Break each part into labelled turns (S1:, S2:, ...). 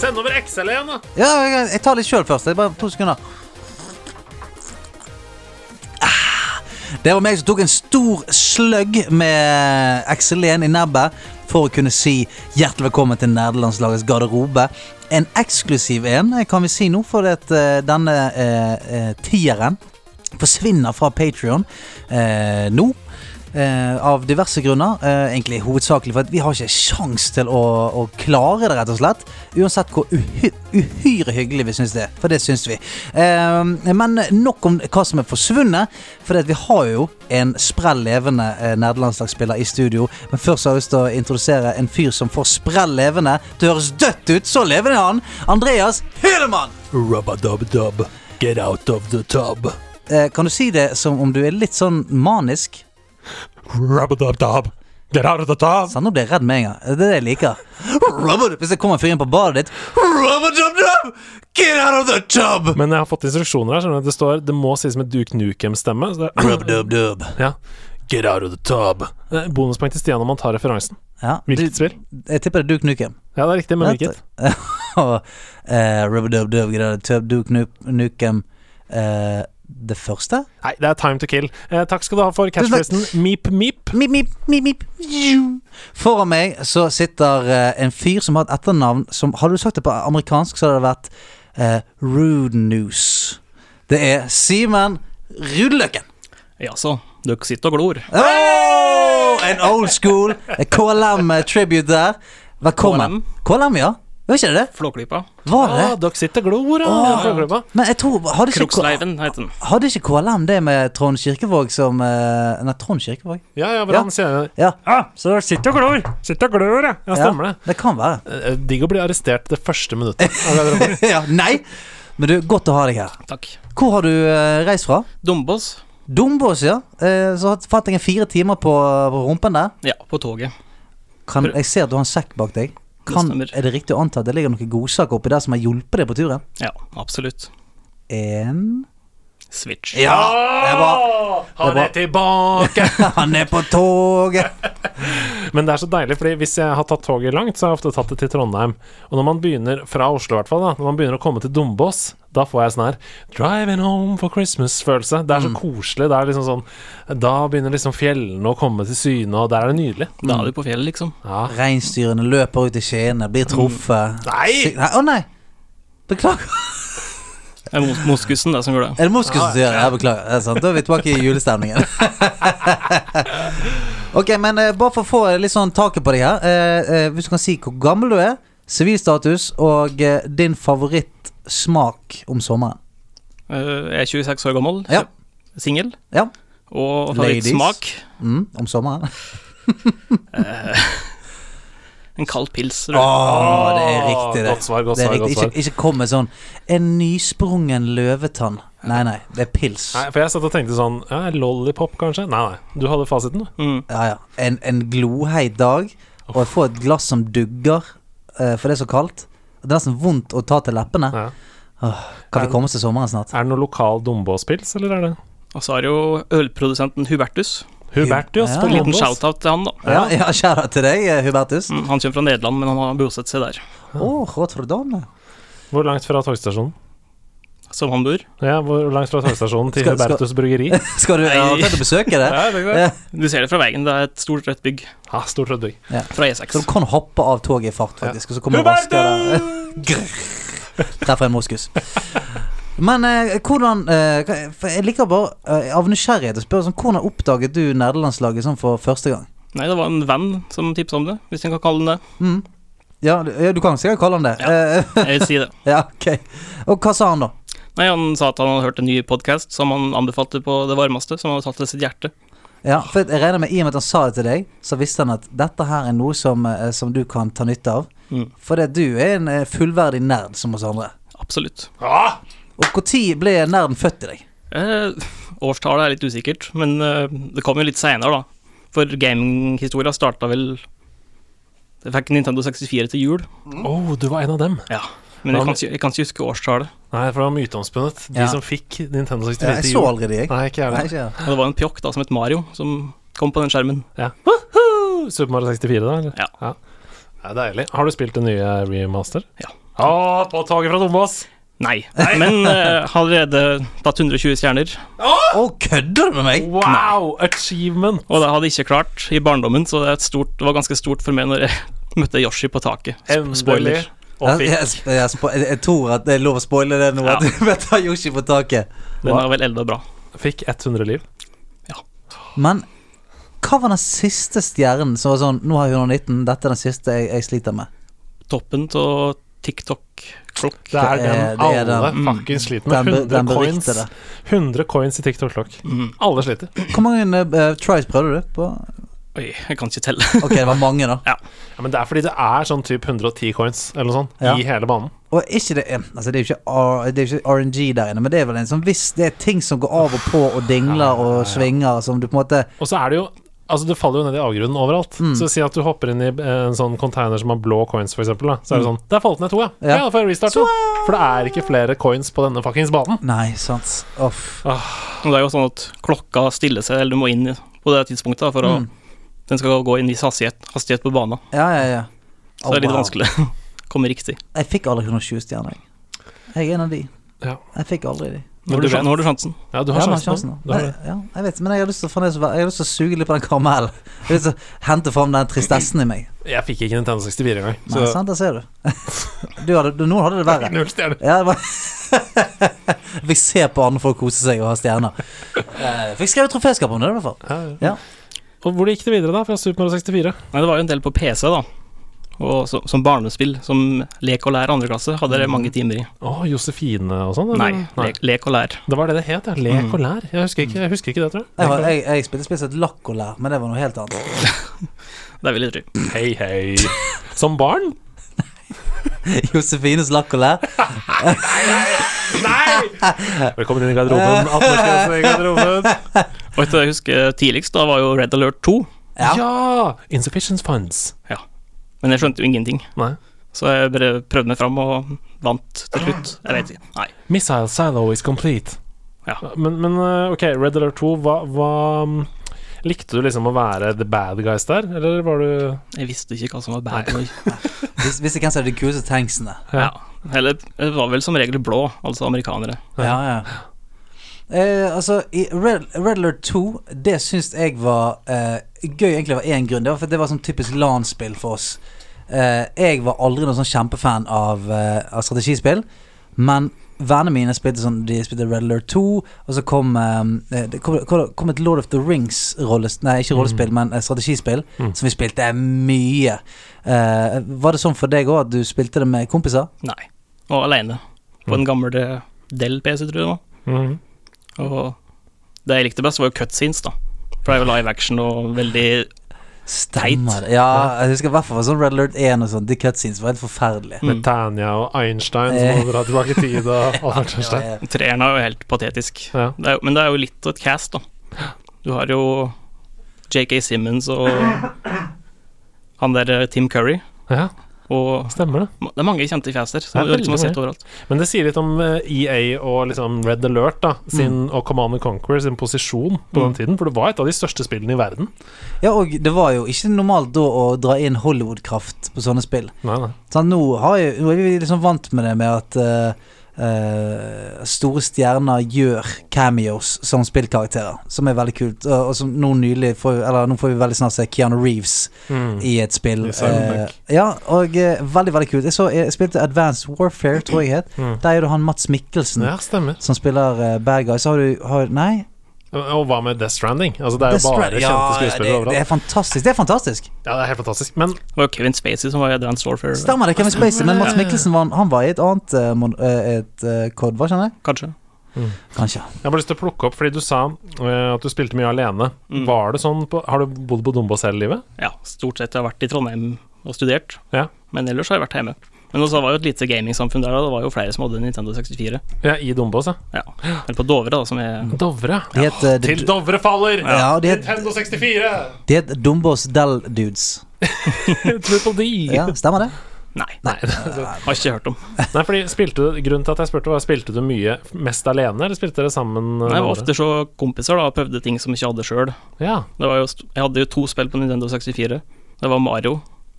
S1: Send over Excel igjen, da.
S2: Ja, jeg, jeg tar litt sjøl først. Det er bare to sekunder. Ah, Det var meg som tok en stor sløgg med Excelen i nebbet for å kunne si hjertelig velkommen til nerdelandslagets garderobe. En eksklusiv en, eh, kan vi si nå, for at eh, denne eh, eh, tieren forsvinner fra Patrion eh, nå. Eh, av diverse grunner. Eh, egentlig hovedsakelig for at vi har ikke sjans til å, å klare det, rett og slett. Uansett hvor uhy uhyre hyggelig vi syns det er. For det syns vi. Eh, men nok om hva som er forsvunnet. For det at vi har jo en sprell levende eh, nerdelandslagsspiller i studio. Men først har jeg lyst til å introdusere en fyr som får sprell levende. Det høres dødt ut! Så levende er han! Andreas Hedemann!
S3: Rubba-dub-dub. Get out of the tub.
S2: Eh, kan du si det som om du er litt sånn manisk?
S3: Rubba-dub-dub. Get out of the tub.
S2: Sånn, nå blir jeg redd med en gang. Det er det jeg liker. Rubber, hvis det kommer en fyr inn på badet ditt Rubber-dub-dub! Get out of the tub!
S1: Men jeg har fått instruksjoner her. skjønner du? Det står Det må sies med Duke Nukem-stemme. så det-
S2: Rub-dub-dub.
S1: Ja.
S3: Get out of the tub.
S1: Det er Bonuspoeng til Stian om han tar referansen.
S2: Ja, du,
S1: Hvilket spill?
S2: jeg tipper det er Duke Nukem.
S1: Ja, det er riktig, men hvilket?
S2: Og eh, Rubber-dub-dub, get out of the tub, Duke Nu- Nukem eh, Det første?
S1: Nei, det er Time to Kill. Eh, takk skal du ha for catchphrasen Meep Meep.
S2: Mip, mip, mip, mip. Jiu. Foran meg så sitter eh, en fyr som har et etternavn som Hadde du sagt det på amerikansk, så hadde det vært eh, Rude News. Det er Simen Rudeløkken.
S4: Jaså, dere sitter og glor.
S2: Oh, en old school en KLM-tribute eh, der. Velkommen. KLM, ja. Var ikke det det?
S4: Flåklypa.
S2: Var det
S1: Ah,
S2: det?
S1: dere sitter og glor, ja. Flåklypa.
S2: Men jeg tror Hadde ikke,
S4: Kroksleiven heter den.
S2: hadde ikke KLM det med Trond Kirkevåg som eh, Nei, Trond Kirkevåg?
S1: Ja, ja, hvordan sier jeg det?
S2: Ja.
S1: Ah, så dere sitter og glor. Sitter og glor, ja. Ja, stemmer det.
S2: Ja, det kan være.
S1: Eh, Digg å bli arrestert det første minuttet. av garderoben.
S2: ja, nei! Men du, godt å ha deg her.
S4: Takk.
S2: Hvor har du eh, reist fra?
S4: Dombås.
S2: Dombås, ja. Eh, så hatt- fant jeg en fire timer på, på rumpen der.
S4: Ja, på toget.
S2: Kan, jeg ser at du har en sekk bak deg. Kan,
S4: stemmer.
S2: er det riktig å anta at det ligger noen godsaker oppi der som har hjulpet deg på turen?
S4: Ja, absolutt.
S2: En
S4: Switch.
S2: Ja! Det var
S1: Han er tilbake!
S2: Han er på toget!
S1: Men det er så deilig, fordi hvis jeg har tatt toget langt, så har jeg ofte tatt det til Trondheim. Og når man begynner fra Oslo, i hvert fall, da, når man begynner å komme til Dombås, da får jeg sånn her Driving home for Christmas-følelse. Det er
S2: Mm.
S1: så koselig. Det er liksom sånn Da begynner liksom fjellene å komme til syne, og der er det nydelig.
S4: Da er du på fjellet, liksom.
S1: Ja.
S2: Reinsdyrene løper ut i skiene, blir truffet. Sy-
S1: Nei!
S2: Nei! Å nei! Beklager.
S4: Det er mos- moskusen det som gjør det.
S2: Er det moskus som sier det? Ja, beklager. Det er sant. Da er vi tilbake i julestemningen. ok, men eh, bare for å få litt sånn taket på deg her. eh, eh, hvis du kan si hvor gammel du er, sivilstatus og eh, din favorittsmak om sommeren.
S4: Eh, Jeg er 26 år gammel,
S2: Ja.
S4: singel,
S2: Ja.
S4: og
S2: Ladies.
S4: favorittsmak
S2: Mm, om sommeren.
S4: en kald pils. tror
S2: Å,
S4: jeg.
S2: det er riktig, det.
S1: Godt svar, godt
S2: det er
S1: svar,
S2: riktig.
S1: godt svar.
S2: Ikke, ikke kom med sånn En nysprungen løvetann. Nei, nei, det er pils.
S1: Nei, for jeg satt og tenkte sånn ja, Lollipop, kanskje? Nei, nei. Du hadde fasiten, du.
S4: Mm.
S2: Ja, ja. En, en glohheit dag, og jeg får et glass som dugger, eh, for det er så kaldt. Det er nesten vondt å ta til leppene.
S1: Ja.
S2: Kan vi komme oss til sommeren snart?
S1: Er det noe lokal Dombås-pils, eller er det
S4: Og så er det jo ølprodusenten Hubertus.
S1: Hubertius
S2: Ja.
S1: på
S4: En liten
S1: Dombås?
S4: shout-out til han, da.
S2: Ja, ja kjære til deg, eh, Hubertus. Å,
S4: Mm, Han kommer fra Nederland, men han har bosatt seg der,
S2: Rotterdam.
S1: Hvor langt fra togstasjonen?
S4: som han bor.
S1: Ja, hvor langt fra togstasjonen til
S2: Skal- skal-
S1: Hubertus bryggeri?
S2: Skal du ja,
S4: Nei.
S2: tenkt å besøke det?
S1: Ja, det går.
S2: Ja.
S4: Du ser det fra veien, det er et stort, rødt bygg
S1: Ja, stort rødt bygg.
S4: fra E
S2: Så
S4: E6.
S2: du kan hoppe av toget i fart, faktisk. Og så kommer du
S1: Hubertus!
S2: raskere. Grrr. Treffer en moskus. Men eh, hvordan eh, hva- for Jeg liker bare eh, av nysgjerrighet å spørre sånn, hvordan oppdaget du nerdelandslaget sånn for første gang?
S4: Nei, det var en venn som tipsa om det, hvis en kan kalle den det.
S2: Mm. Ja, du, ja, du kan sikkert kalle han det.
S4: Ja.
S2: Eh,
S4: Jeg vil si det.
S2: Ja, ok. Og hva sa han da?
S4: Nei, Han sa at han hadde hørt en ny podkast som han anbefalte på det varmeste, som han hadde tatt til sitt hjerte.
S2: Ja, for jeg regner med I og med at han sa det til deg, så visste han at dette her er noe som, eh, som du kan ta nytte av.
S4: Mm.
S2: Fordi at du er en eh, fullverdig nerd som oss andre.
S4: Absolutt.
S1: Ah!
S2: Og når ble nerden født i deg?
S4: Eh, årstallet er litt usikkert, men eh, det kom jo litt seinere, da. For gaminghistoria starta vel Jeg fikk Nintendo 64 til jul,
S1: Oh, du var en av dem.
S4: men
S1: Ja,
S4: jeg
S1: men-
S4: kan, ikke- jeg kan ikke huske årstallet.
S1: Nei, for det var myteomspunnet. De
S2: Ja.
S1: som fikk Nintendo 64
S2: Jeg
S1: til
S2: så
S1: jul.
S2: allerede, jeg.
S1: Nei, ikke jeg
S2: Nei,
S1: heller.
S2: ikke jeg.
S4: Og det var en pjokk da som het Mario, som kom på den skjermen.
S1: Ja. Woohoo! Super Mario 64, da? Eller?
S4: Ja.
S1: Det er deilig. Har du spilt det nye remaster?
S4: Ja.
S1: Å, på toget fra Dombås!
S4: Nei. Men eh, har allerede tatt 120 stjerner.
S2: Å, kødder du med meg?
S1: Wow! Achievement!
S4: Og det hadde jeg ikke klart i barndommen, så det, er et stort, det var ganske stort for meg når jeg møtte Yoshi på taket. Sp-
S1: Endelig. Og fikk
S2: Jeg, jeg, jeg, spo- jeg, jeg tror at det er lov å spoile det nå.
S4: Ja.
S2: At vi tar Yoshi på taket.
S4: Den er vel elda bra.
S1: fikk 100 liv.
S2: Men hva var den siste stjernen som var sånn Nå har jeg 119, dette er den siste jeg, jeg sliter med.
S4: Toppen av TikTok-klokk.
S1: Det er
S2: Det er-
S1: den
S2: det er
S1: alle
S4: den-
S1: fuckings sliter
S2: Den,
S1: med.
S2: be- den
S1: 100 coins,
S2: berikte det.
S1: 100 coins i TikTok Clock.
S4: Mm.
S1: Alle sliter.
S2: Hvor mange eh, tries prøvde du på?
S4: Oi, jeg kan ikke telle.
S2: Ok, det var mange, da.
S1: Ja, men det er fordi det er sånn typ 110 coins eller noe sånt
S2: Ja.
S1: i hele banen.
S2: Og ikke det, altså det er jo ikke, R, det er jo ikke RNG der inne, men det er vel en sånn Hvis det er ting som går av og på og dingler og svinger som du på en måte
S1: Og så er det jo Altså, det faller jo ned i avgrunnen overalt. Så si at du hopper inn i eh, en sånn container som har blå coins, for eksempel, da. Så er det sånn Der falt ned to, ja. Ja,
S2: Ja.
S1: da får jeg restarte. da. For det er ikke flere coins på denne fuckings banen.
S2: Nei, sant. Uff.
S4: Og det er jo sånn at klokka stiller seg, eller du må inn i- på det tidspunktet da, for å,
S2: Mm.
S4: den skal gå inn i hastighet, hastighet på banen.
S2: Ja, ja, ja.
S4: Så det er litt
S2: Au, Oh, wow.
S4: vanskelig å komme riktig.
S2: Jeg fikk aldri 120 stjerner, jeg. Jeg er en av de.
S1: Ja.
S2: Jeg fikk aldri de.
S4: Nå
S1: Men
S4: har
S1: du
S4: du, sjan-
S1: vet-
S4: nå har du sjansen.
S1: Ja, du har
S2: Ja, men
S1: sjansen.
S2: da.
S1: Du har det.
S2: Nei, ja, jeg vet, men jeg har lyst til å, fremdeles være- jeg har lyst til å suge litt på den karamellen. Jeg har lyst til å hente fram den tristessen i meg.
S1: Jeg fikk ikke Nintendo 64 engang.
S2: Nei, sant, der ser du. du, hadde, du noen hadde det verre.
S1: Null stjerner.
S2: Ja, det var Jeg Fikk se på andre folk kose seg og ha stjerner. Eh, Fikk skrevet troféskap om det, i hvert fall.
S1: Ja, ja.
S2: Ja.
S1: Og hvor gikk det videre, da? Fra Super Mario 64?
S4: Nei, det var jo en del på PC, da. Og så, som barnespill, som lek og lær andre klasse, hadde det mange timer i.
S1: Å, Josefine og sånn?
S4: Nei,
S1: eller?
S4: lek, lek og lær.
S1: Det var det det het, ja. Lek og lær. Jeg husker ikke, jeg husker ikke det, tror jeg.
S2: Jeg, var, jeg, jeg spilte spesielt lakk og lær, men det var noe helt annet.
S4: Det vil jeg tro.
S1: Hei, hei. Som barn?
S2: Josefines lakk og lær.
S1: Nei! Velkommen inn i garderoben. 18-årsgrense i garderoben.
S4: Og etter det jeg husker tidligst, da var jo Red Alert 2.
S1: Ja!
S2: Ja.
S1: Insufficient funds.
S4: Men jeg skjønte jo ingenting.
S1: Nei.
S4: Så jeg bare prøvde meg fram og vant til slutt. Jeg vet ikke. Nei.
S1: Missile silo is complete.
S4: Ja.
S1: Men, men eh, OK, Red Alert 2, hva, hva mm, Likte du liksom å være the bad guys der, eller var du
S4: Jeg visste ikke hva som var bad boy.
S2: Vis- Visste hvem som hadde de kuleste tanksene.
S4: Ja. Eller det var vel som regel blå, altså amerikanere.
S2: Ja, ja. Eh, altså, i Red, Red Alert 2, det syns jeg var eh, gøy egentlig av én grunn. Det var for at det var sånn typisk LAN-spill for oss. Eh, jeg var aldri noen sånn kjempefan av, eh, av strategispill, men vennene mine spilte sånn De spilte Red Alert 2, og så kom eh, det kom, kom, kom et Lord of the Rings-rollespill Nei, ikke rollespill, men eh, strategispill,
S1: Mm.
S2: som vi spilte mye. Eh, var det sånn for deg òg at du spilte det med kompiser?
S4: Nei. Og aleine. På
S1: Mm.
S4: en gammel eh, Dell-PC, tror jeg det var.
S1: Mhm.
S4: Og det jeg likte best, var jo cutscenes, da. For det er jo live action og veldig
S2: Stemmer det. Ja, jeg husker i hvert fall var sånn Red Alert 1 og sånn. De cutscenes var helt forferdelige.
S4: mm,
S1: Med Tanja og Einstein som
S2: Mm. Eh.
S1: må dra tilbake i tid og og alt sånt.
S2: Ja, ja.
S4: Treeren er jo helt patetisk.
S1: Ja.
S4: Det er, jo- men det er jo litt av et cast, da. Du har jo JK Simmons og han der eh, Tim Curry.
S1: ja,
S4: Og
S1: stemmer det.
S4: ma- det er mange kjente fjes der, som,
S1: Det er
S4: du liksom har
S1: veldig
S4: sett
S1: mange.
S4: overalt.
S1: Men det sier litt om eh, EA og liksom Red Alert da
S2: Mm.
S1: sin, og Command and Conquer sin posisjon på den tiden. For det var et av de største spillene i verden.
S2: ja, og det var jo ikke normalt da å dra inn Hollywood-kraft på sånne spill.
S1: Nei, nei.
S2: Sånn, nå, har jeg, nå er vi liksom vant med det med at eh, eh, store stjerner gjør cameos som spillkarakterer, som er veldig kult. Og, og som nå nylig får, Eller nå får vi veldig snart se Keanu Reeves
S1: Mm.
S2: i et spill.
S1: I Cyberpunk.
S2: Eh, ja, og eh, veldig, veldig kult. Jeg, så, jeg spilte Advanced Warfare, tror jeg het.
S1: Mm.
S2: Der er det han Mats Mikkelsen.
S1: Ja, stemmer.
S2: som spiller uh, bad guy, så har du har, Nei.
S1: Og hva med Death Stranding? Altså, det er jo
S2: Death
S1: bare
S2: Stranding-
S1: kjente skuespillere
S2: ja, det, det
S1: overalt.
S2: er fantastisk. Det er fantastisk.
S1: Ja, det er helt fantastisk. Men
S4: Det var jo Kevin Spacey som var i Advanced Warfare,
S2: Stemmer det, Kevin Spacey, men
S1: Ja,
S2: Mats
S1: ja, ja.
S2: Mikkelsen var, han var i et annet eh, mon- eh, et eh, kod, hva skjønner jeg?
S4: kanskje.
S2: Kanskje.
S1: jeg har bare lyst til å plukke opp, fordi du sa eh, at du spilte mye alene.
S4: Mm.
S1: Var det sånn på, Har du bodd på Dombås hele livet?
S4: Ja, stort sett. Jeg har vært i Trondheim og studert,
S1: Ja.
S4: men ellers har jeg vært hjemme. Men også var jo et lite gamingsamfunn der, og det var jo flere som hadde Nintendo 64.
S1: Ja, I Dombås, ja.
S4: Ja. Eller på Dovre, da, som er
S1: Dovre.
S2: De het, eh,
S1: Til Dovre faller!
S2: ja, de het,
S1: Nintendo 64!
S2: de het Dombås Del Dudes.
S1: Triple D.
S2: Ja, stemmer det?
S4: Nei,
S1: Nei, altså,
S4: har ikke hørt om.
S1: nei, fordi spilte du Grunnen til at jeg spurte, var spilte du mye mest alene, eller spilte dere sammen? eh,
S4: Nei, jeg var
S1: med andre?
S4: ofte så kompiser da, og prøvde ting som jeg ikke hadde sjøl.
S1: Ja.
S4: Jeg hadde jo to spill på Nintendo 64. Det var Mario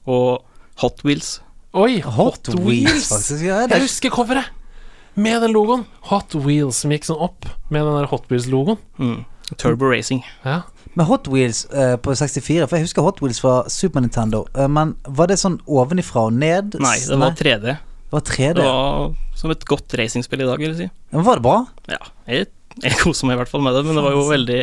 S4: og Hot Wheels.
S1: Oi, Hot, Wheels!
S2: faktisk. Ja, det
S1: Jeg
S2: er
S1: husker coveret! Med den logoen. Hot Wheels som gikk sånn opp med den der Hot Wheels-logoen.
S4: Mm. Turbo Racing.
S1: Ja.
S2: Men Hot Wheels eh, på 64, for jeg husker Hot Wheels fra Super Nintendo. eh, men var det sånn ovenifra og ned?
S4: Nei, det var 3D.
S2: det var 3D.
S4: Det var som et godt racingspill i dag, vil jeg si.
S2: Men var det bra?
S4: Ja, jeg, jeg koser meg i hvert fall med det, men det var jo veldig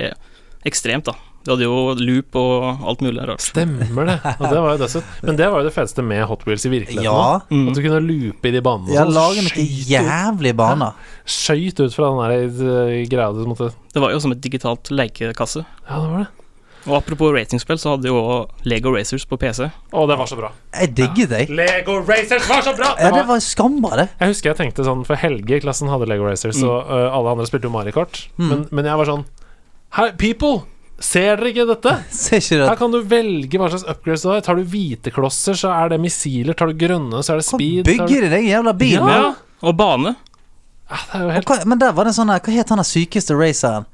S4: ekstremt, da. Du hadde jo loop og alt mulig rart.
S1: Stemmer det. Og det var jo dessuten. Men det var jo det feteste med Hot Wheels i virkeligheten. da.
S2: Ja.
S4: Mm.
S1: At du kunne loope i de banene. og
S2: Ja,
S1: sånn.
S2: lager noen
S1: Skøyt ut-
S2: jævlige baner.
S1: Skøyt ut fra den der eh, greia du måtte
S4: Det var jo som et digitalt lekekasse.
S1: Ja, det var det.
S4: Og apropos racingspill, så hadde jo også Lego Racers på PC.
S1: Å, det var så bra.
S2: Jeg digget deg.
S1: Lego Racers var så bra!
S2: Ja, det var skambra, det.
S1: Jeg husker jeg tenkte sånn, for Helge i klassen hadde Lego Racers, og ø, alle andre spilte jo Mario Kart.
S2: Mm.
S1: Men, men jeg var sånn Hei, people! Ser dere ikke dette?
S2: Ser ikke du
S1: Her
S2: at
S1: kan du velge hva slags upgrades du har. Tar du hvite klosser, så er det missiler. Tar du grønne, så er det
S2: Hva
S1: speed. Tar du...
S2: bygger de deg jævla bil?
S1: Ja.
S4: Ja, og bane.
S1: Ja, det er jo
S2: Og
S1: helt
S2: hva, men der var det en sånn her Hva het han der sykeste raceren?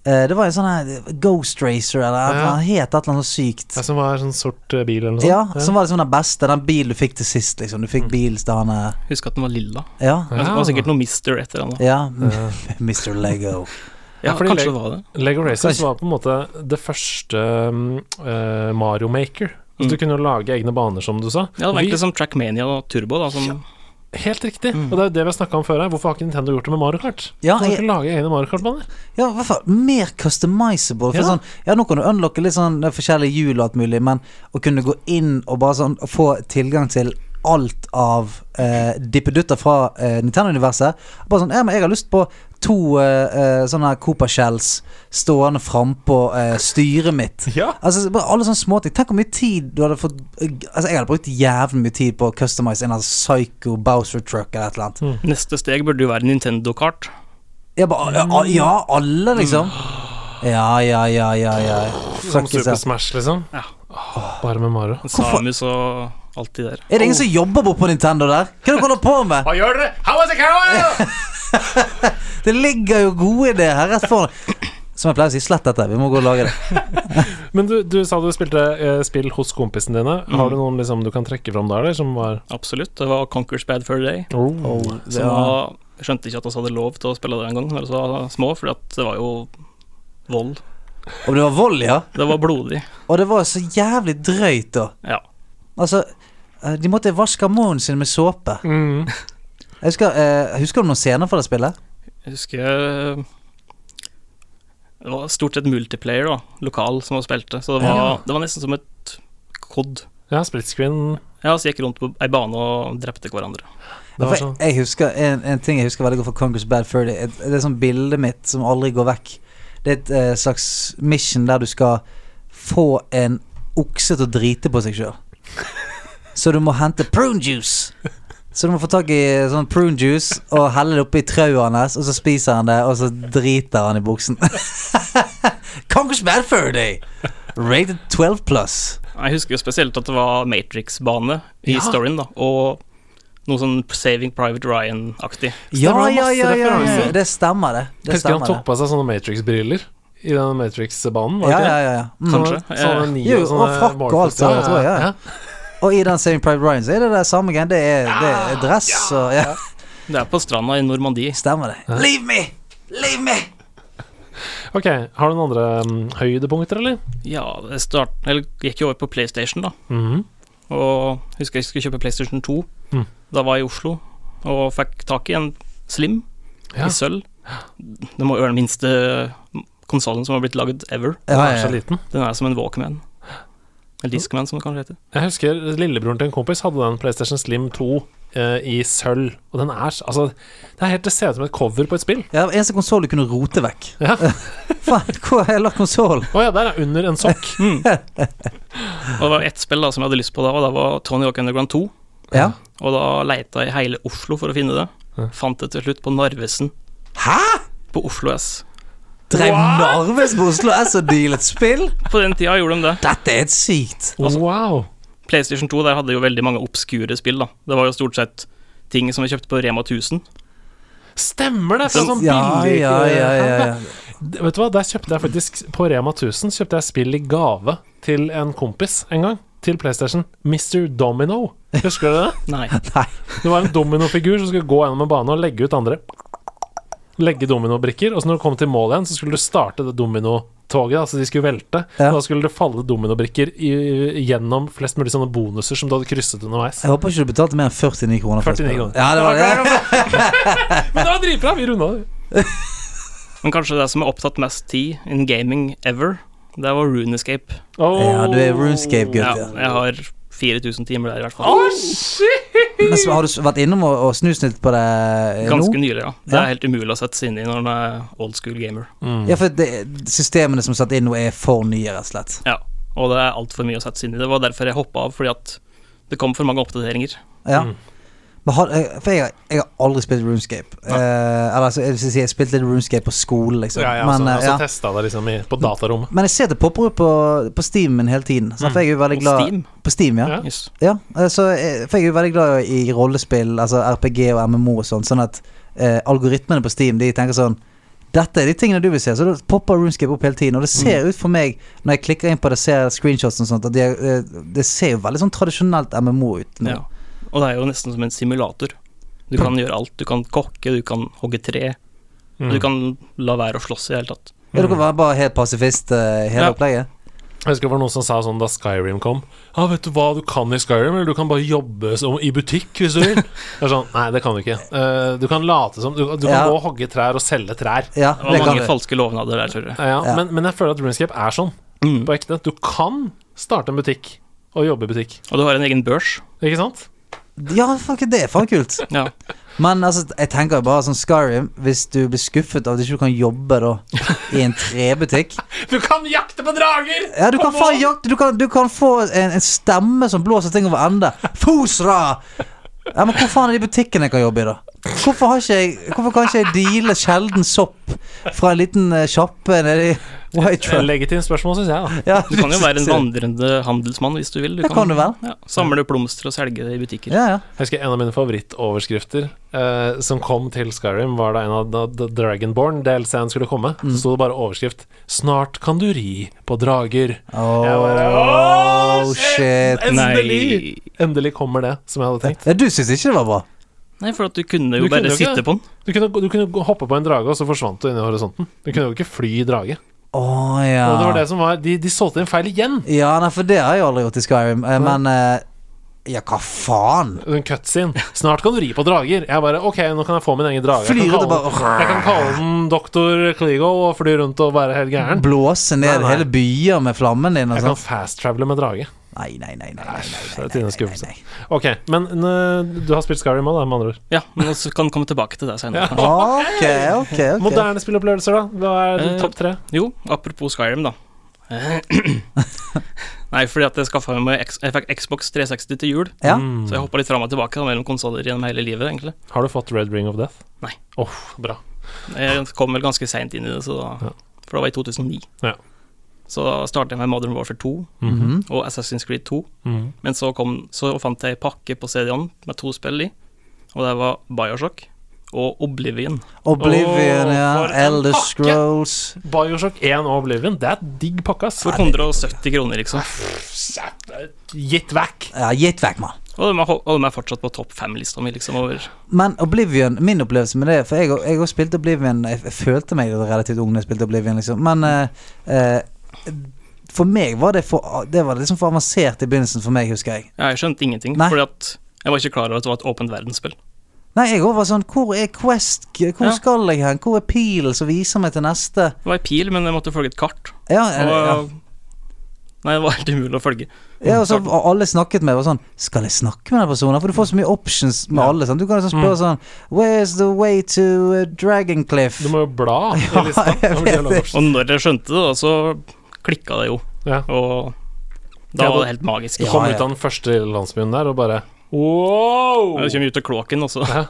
S2: Eh, det var en sånn her Ghost Racer, eller
S1: Ja.
S2: han het et eller annet så sykt.
S1: Jeg som var sånn Mm. sort ø, bil eller noe
S2: Ja,
S1: sånt.
S2: som var liksom den beste, den bilen du fikk til sist, liksom. Du fikk bil til han eh,
S4: Husker at den var lilla.
S2: Ja.
S4: Det var sikkert noe Mister et eller annet.
S2: Ja, Mm. Mr. Lego.
S4: Ja,
S1: Ja, fordi
S4: kanskje
S1: Lego-
S4: det var det.
S1: Lego Racers
S2: Kanskje-
S1: var på en måte det første mm, ø, Mario Maker. Altså, Du
S4: Mm.
S1: kunne jo lage egne baner, som du sa.
S4: Ja, det var
S1: Vi-
S4: egentlig som Trackmania og Turbo, da, som
S1: Helt riktig. Og det er jo det vi har snakka om før her. Hvorfor har ikke Nintendo gjort det med Mario Kart?
S2: Mm. Ja,
S1: Kan du
S2: jeg-
S1: ikke lage egne Mario Kart-baner?
S2: Ja, i hvert fall mer customizable. For
S1: Ja.
S2: sånn, ja, nå kan du unlocke litt sånn eh, forskjellige hjul og alt mulig, men å kunne gå inn og bare sånn og få tilgang til alt av eh, dippedutter fra eh, Nintendo-universet Bare sånn Ja, men jeg har lyst på to eh, eh, sånne her Cooper Shells stående frampå eh, styret mitt.
S1: Ja.
S2: Altså, bare alle sånne småting. Tenk hvor mye tid du hadde fått Altså, jeg hadde brukt jævlig mye tid på å customize en av Psycho Bowser Truck eller et eller annet.
S4: Neste steg burde jo være Nintendo-kart.
S2: Jeg bare Ja, ja alle, liksom. Ja, ja, ja, ja. ja.
S1: Som
S2: Fuck altså.
S1: Super
S2: yourself.
S1: Smash, liksom?
S4: Ja.
S1: Åh, Bare med Mario.
S2: Hvorfor-
S4: Samus og alt de der.
S2: Er det ingen som jobber bort på Nintendo der? Hva er det dere holder på med?
S1: Hva gjør dere? How is it going?
S2: Det ligger jo gode ideer her rett foran. Som jeg pleier å si, slett dette. Vi må gå og lage det.
S1: Men du, du sa du spilte eh, spill hos kompisene dine.
S2: Mm.
S1: Har du noen liksom, du kan trekke fram der, eller? Som var
S4: Absolutt. Det var Conquers Bad Fur Day.
S1: oh.
S4: Som var, jeg skjønte ikke at vi hadde lov til å spille det engang da vi var små, for det var jo vold.
S2: Og det var vold, ja.
S4: Det var blodig.
S2: Og det var så jævlig drøyt, da.
S4: Ja.
S2: Altså, eh, de måtte vaske munnen sin med såpe.
S1: mm.
S2: Jeg husker, eh, husker du noen scener fra det spillet?
S4: Jeg husker eh, Det var stort sett multiplayer, da, lokal, som vi spilte. Så det var,
S1: Ja.
S4: det var nesten som et kod.
S1: Ja, split screen.
S4: Ja, så gikk rundt på ei bane og drepte hverandre.
S1: Det
S2: For
S1: var sånn.
S2: jeg husker en, en ting jeg husker veldig godt fra Congress Bad Fur Day. et- Det er sånn bildet mitt som aldri går vekk. Det er et eh, slags mission der du skal få en okse til å drite på seg sjøl. Så du må hente prune juice. Så du må få tak i sånn prune juice og helle det oppi trauet hans, og så spiser han det, og så driter han i buksen. Congress Bad Fur Day! Rated 12 pluss.
S4: Jeg husker jo spesielt at det var Matrix-bane i
S1: Ja.
S4: storyen, da, og noe sånn Saving Private Ryan-aktig.
S1: Stemmer,
S2: Ja,
S1: det er
S2: ja,
S1: masse
S2: ja, ja, ja.
S1: referanser.
S2: Det stemmer, det. det
S1: Husker han
S2: stemmer,
S1: tok
S2: det.
S1: på seg sånne Matrix-briller i den Matrix-banen?
S2: Ja, ja, ja, ja. Mm.
S4: Kanskje.
S1: Sånne
S4: Eh,
S1: nye,
S2: Jo, og
S1: sånne
S2: frakk og
S1: morphoser.
S2: alt sånt, tror jeg, ja. Og i den Saving Private Ryan så er det det samme greien. Det er, det er dress og ja.
S4: Det er på stranda i Normandie.
S2: Stemmer det. Leave me! Leave me!
S1: Ok, Har du noen andre mm, høydepunkter, eller?
S4: Ja, det start, eller gikk jo over på PlayStation, da.
S1: Mhm.
S4: Og jeg husker jeg skulle kjøpe PlayStation 2.
S1: Mm.
S4: Da var jeg i Oslo og fikk tak i en Slim
S1: Ja.
S4: i sølv. Det må jo være den minste konsollen som har blitt lagd ever.
S1: Den
S2: Ja,
S1: er
S2: ja,
S1: så
S2: ja.
S1: liten.
S4: Den er som en Walkman. En Discman, som det kanskje heter.
S1: Jeg husker lillebroren til en kompis hadde den PlayStation Slim 2 eh, i sølv. Og den er s- altså Det er helt det ser ut som et cover på et spill.
S2: ja eneste konsoll du kunne rote vekk.
S1: Ja.
S2: Faen, hvor er la konsollen?
S1: Å ja, der er under en sokk.
S4: Og det var ett spill da som jeg hadde lyst på da, og det var Tony Hawk Underground 2.
S2: Ja.
S4: Og da leita jeg i hele Oslo for å finne det. Fant det til slutt på Narvesen.
S2: Hæ?!
S4: På Oslo S.
S2: Drev
S1: What?
S2: Narves på Oslo S og dealet spill?
S4: På den tida gjorde de det.
S2: Dette er helt sykt.
S1: wow.
S4: PlayStation 2 der hadde jo veldig mange obskure spill. da Det var jo stort sett ting som vi kjøpte på Rema 1000.
S1: Stemmer det! Fra sånn
S2: Ja,
S1: billig
S2: ja, ja, ja, ja.
S1: D- Vet du hva, der kjøpte jeg faktisk På Rema 1000 kjøpte jeg spill i gave til en kompis en gang. Til PlayStation. Mr. Domino. Husker du det?
S4: Nei.
S2: Nei.
S1: Det var en dominofigur som skulle gå gjennom en bane og legge ut andre. Legge dominobrikker, og så når du kom til mål igjen, så skulle du starte det dominotoget. da, Så de skulle velte.
S2: Ja.
S1: Og da skulle det falle dominobrikker i, gjennom flest mulig sånne bonuser som du hadde krysset underveis.
S2: Jeg håper ikke du betalte mer enn 49 kroner. for det
S1: 49
S2: spillet.
S1: kroner.
S2: Ja, det var det.
S1: Men det var dritbra! Vi runda det.
S4: Men kanskje det som har opptatt mest tid in gaming ever, det var Runescape.
S2: Ja, du er RuneScape-gutt,
S4: Ja,
S2: ja.
S4: jeg har 4000 timer der, i hvert
S1: Å,
S4: fall.
S1: shit!
S2: Men så har du s- vært innom og, og snusnitt på det eh,
S4: Ganske
S2: nå?
S4: nylig, ja. Det
S2: Ja.
S4: er helt umulig å sette seg inn i når en er old school gamer.
S2: Ja, for det, systemene som er satt inn nå, er for nye, rett og slett.
S4: Ja, og det er altfor mye å sette seg inn i. Det var derfor jeg hoppa av, fordi at det kom for mange oppdateringer.
S2: Ja. Men har, eh, for jeg, har- jeg har aldri spilt RuneScape. Eh, eller altså, jeg, vil si jeg spilte litt RuneScape på skolen, liksom.
S1: Ja, altså, ja,
S2: men,
S1: så,
S2: eh,
S1: og så
S2: ja.
S1: testa det liksom i, på datarommet.
S2: men jeg ser det popper opp på, på Steam min hele tiden. Så for jeg er jo veldig
S4: På
S2: glad
S4: Steam?
S2: På Steam, ja.
S1: Ja.
S4: Yes.
S2: ja. eh, Så jeg, for jeg er jo veldig glad i rollespill, altså RPG og MMO og sånn, sånn at eh, algoritmene på Steam De tenker sånn dette er de tingene du vil se, så da popper RuneScape opp hele tiden. Og det ser ut for meg, når jeg klikker inn på det, ser screenshots og sånt, at det, eh, det ser jo veldig sånn tradisjonelt MMO ut. nå.
S4: Ja. Og det er jo nesten som en simulator. Du kan gjøre alt. Du kan kokke, du kan hogge tre.
S1: Mm.
S4: Du kan la være å slåss i det hele tatt.
S2: Ja, dere var bare helt pasifist eh, hele
S4: Mm. Ja.
S2: opplegget?
S1: Jeg husker det var noen som sa sånn da Skyrim kom Ja, vet du hva du kan i Skyrim? Eller du kan bare jobbe som, i butikk hvis du vil Det er sånn, nei det kan du ikke Eh, Du kan late som, du, du kan
S2: Ja.
S1: gå og hogge trær og selge trær
S2: Ja,
S4: Det var
S2: det kan
S4: mange
S2: du.
S4: falske lovnader der, tror jeg. Mm.
S1: ja, ja.
S2: Ja.
S1: Men, men jeg føler at RuneScape er sånn På ekte, du kan starte en butikk Og jobbe i butikk,
S4: Og du har en egen børs.
S1: ikke sant?
S2: Ja, fuck, det er faen kult.
S4: Ja.
S2: Men altså, jeg tenker jo bare sånn Skyrim, hvis du blir skuffet av at du ikke kan jobbe da i en trebutikk
S1: Du kan jakte på drager!
S2: Ja, du kan, faen jakte, du kan, du kan få en, en stemme som blåser ting over ende. Fosra! Ja, Men hvor faen er de butikkene jeg kan jobbe i, da? Hvorfor, har ikke jeg, hvorfor kan ikke jeg deale sjelden sopp fra en liten eh, sjappe nede i White
S1: Eh,
S2: Trail?
S1: Legitimt spørsmål synes jeg da
S2: Ja,
S4: Du kan jo være en vandrende handelsmann hvis du vil. Du
S2: Det kan du vel.
S4: Ja, samle blomster og selge det i butikker.
S2: Ja, ja.
S1: Jeg husker en av mine favorittoverskrifter eh, som kom til Skyrim, var da en av da, da Dragonborn DLC-en skulle komme. Så sto det bare overskrift 'Snart kan du ri på drager'. Jeg bare,
S2: Oh,
S1: «Åh,
S2: shit.
S1: Endelig! Endelig kommer det, som jeg hadde tenkt.
S2: Ja, du syns ikke det var bra?
S4: Nei, for at du kunne
S1: Du
S4: jo
S1: kunne
S4: bare
S1: jo ikke
S4: sitte
S1: det.
S4: på den.
S1: Du kunne, du kunne gå- hoppe på en drage, og så forsvant du inn i horisonten. Du kunne jo ikke fly i drage.
S2: Å ja.
S1: Og det var det som var De, de solgte inn feil igjen!
S2: Ja, nei, for det har jeg aldri gjort i Skyrim. eh, Men eh, Ja, hva faen?
S1: En cutscene. 'Snart kan du ri på drager'. Jeg bare OK, nå kan jeg få min egen drage. Jeg
S2: Flyr
S1: kan
S2: det
S1: kalle,
S2: bare-
S1: jeg kan kalle den doktor Clego og fly rundt og være helt gæren.
S2: Blåse ned
S1: Nei, nei.
S2: hele byer med flammen din og
S1: Jeg kan
S2: sånn?
S1: fast-travele med drage.
S2: Nei, nei, nei. nei,
S1: Så
S2: nei, nei,
S1: det er
S2: nei,
S1: tidenes
S2: nei, nei,
S1: skuffelse.
S2: nei.
S1: Ok, men eh, du har spilt Skyrim òg, med andre ord.
S4: Ja, men så kan komme tilbake til det senere.
S2: Ok, ok, ok.
S1: Moderne spilleopplevelser, da? Hva er
S4: Eh,
S1: din topp tre?
S4: Jo, apropos Skyrim, da. Nei, fordi at jeg skaffa meg X jeg fikk Xbox 360 til jul,
S2: Ja.
S4: Mm. så
S1: Mm.
S4: jeg hoppa litt fram og tilbake da, mellom konsoller gjennom hele livet, egentlig.
S1: Har du fått Red Ring of Death?
S4: Nei.
S1: Åh, bra.
S4: Jeg kom vel ganske seint inn i det, så da, for det var i 2009.
S1: Ja.
S4: Så da startet jeg med Modern Warfare 2
S2: Mhm.
S4: og Assassin's Creed 2.
S1: Mhm.
S4: Men så, kom, så fant jeg ei pakke på CD-en med to spill i, og det var Bioshock og Oblivion.
S2: Oblivion,
S1: Åh,
S2: ja.
S1: for en
S2: Elder
S1: pakke.
S2: Scrolls.
S1: Bioshock 1 og Oblivion, det er digg pakke, ass.
S4: For 170 kroner, liksom.
S1: Gitt vekk!
S2: Ja, gitt vekk, mann.
S4: Og de er, ho- og de er fortsatt på topp fem-lista mi, liksom, over
S2: Men Oblivion, min opplevelse med det For jeg, jeg også spilte Oblivion Jeg, jeg følte meg relativt ung da jeg spilte Oblivion liksom. Men eh, eh, For meg var det for Det var liksom for avansert i begynnelsen for meg, husker jeg
S4: Ja, jeg skjønte ingenting,
S2: Nei.
S4: fordi at jeg var ikke klar over at det var et åpent verdensspill.
S2: Nei, jeg også var sånn Hvor er Quest?
S4: Ja.
S2: Hvor skal jeg hen? Hvor er pilen som viser meg til neste?
S4: Det var ei pil, men jeg måtte følge et kart.
S2: Ja,
S4: Og,
S2: ja, ja.
S4: Nei, det var helt umulig å følge.
S2: ja og så og alle snakket med meg var sånn Skal jeg snakke med den personen? For du får så mye options med alle sant? Du kan liksom spørre sånn Where's the way to uh, Dragoncliff?
S1: Du må jo bla i lista.
S2: jeg
S1: over
S2: vet
S1: dialogoption.
S4: Og når jeg skjønte det, da, så klikka det jo.
S1: Ja.
S4: Og
S1: Ja,
S4: da
S1: da-
S4: var det helt magisk.
S1: Du
S2: Ja,
S1: kom
S2: ja.
S1: ut av den første landsbyen der og bare Wow!
S4: Jeg kom ut av kloakken, og så,
S1: Ja.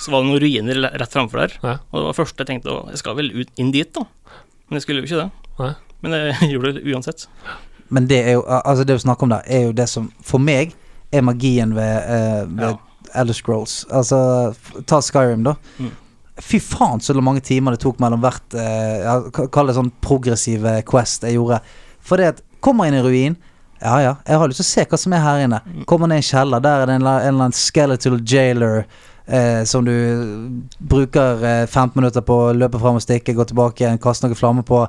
S4: så var det noen ruiner le- rett framfor der.
S1: Ja.
S4: Og det var første jeg tenkte å, jeg skal vel ut, inn dit, da. Men jeg skulle jo ikke det.
S1: Nei.
S4: Men jeg gjorde det uansett.
S2: Men det er jo Altså det vi snakker om der, er jo det som for meg er magien ved, eh, ved
S4: Ja.
S2: Elder Scrolls. Altså, f- ta Skyrim, da.
S4: Mm.
S2: Fy faen så mange timer det tok mellom hvert eh, ja, k- Kall det sånn progressive quest jeg gjorde. For det at Kommer inn i ruin. Ja ja, jeg har lyst til å se hva som er her inne. Kommer ned i en kjeller, der er det en, la- en eller annen skeletal jailer eh, som du bruker eh, 15 minutter på å løpe fram og stikke, gå tilbake igjen, kaste noen flammer på,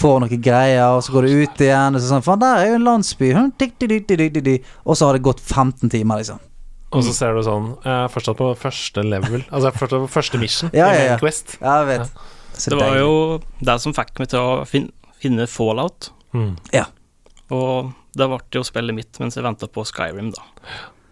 S2: får noen greier, og så går du ut igjen, og så sånn Faen, der er jo en landsby. Hm, tikk, tikk, tikk, tikk, tikk, tikk. Og så har det gått 15 timer, liksom.
S1: Og så ser du sånn Jeg er fortsatt på første level. Altså, jeg er fortsatt på første mission.
S2: Ja,
S1: i
S2: ja, ja.
S1: Main Quest.
S2: Ja, jeg vet. Så
S4: Det var
S2: deilig.
S4: jo det som fikk meg til å fin finne Fallout,
S1: Mm.
S4: og det ble jo spillet mitt mens jeg venta på Skyrim, da.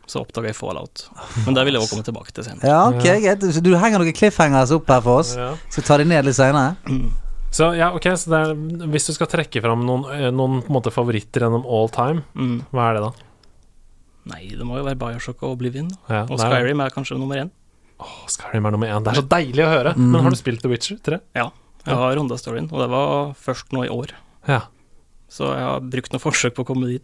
S4: Så oppdaga jeg Fallout. Men det vil jeg også komme tilbake til senere.
S2: Ja, ok, greit. Så du henger noen cliffhangers opp her for oss.
S1: Ja.
S2: Skal ta de ned litt seinere.
S4: Mm.
S1: Så ja, ok, så det er, hvis du skal trekke fram noen, eh, noen på en måte favoritter gjennom all time,
S4: Mm.
S1: hva er det da?
S4: Nei, det må jo være Bioshock og Oblivion. da.
S1: Ja,
S4: Og
S1: det er-
S4: Skyrim er kanskje nummer én.
S1: Å, Skyrim er nummer én. Det er så deilig å høre.
S2: Mhm.
S1: Men har du spilt The Witcher 3?
S4: Ja. Jeg har runda storyen, og det var først nå i år.
S1: Ja.
S4: Så jeg har brukt noen forsøk på å komme dit.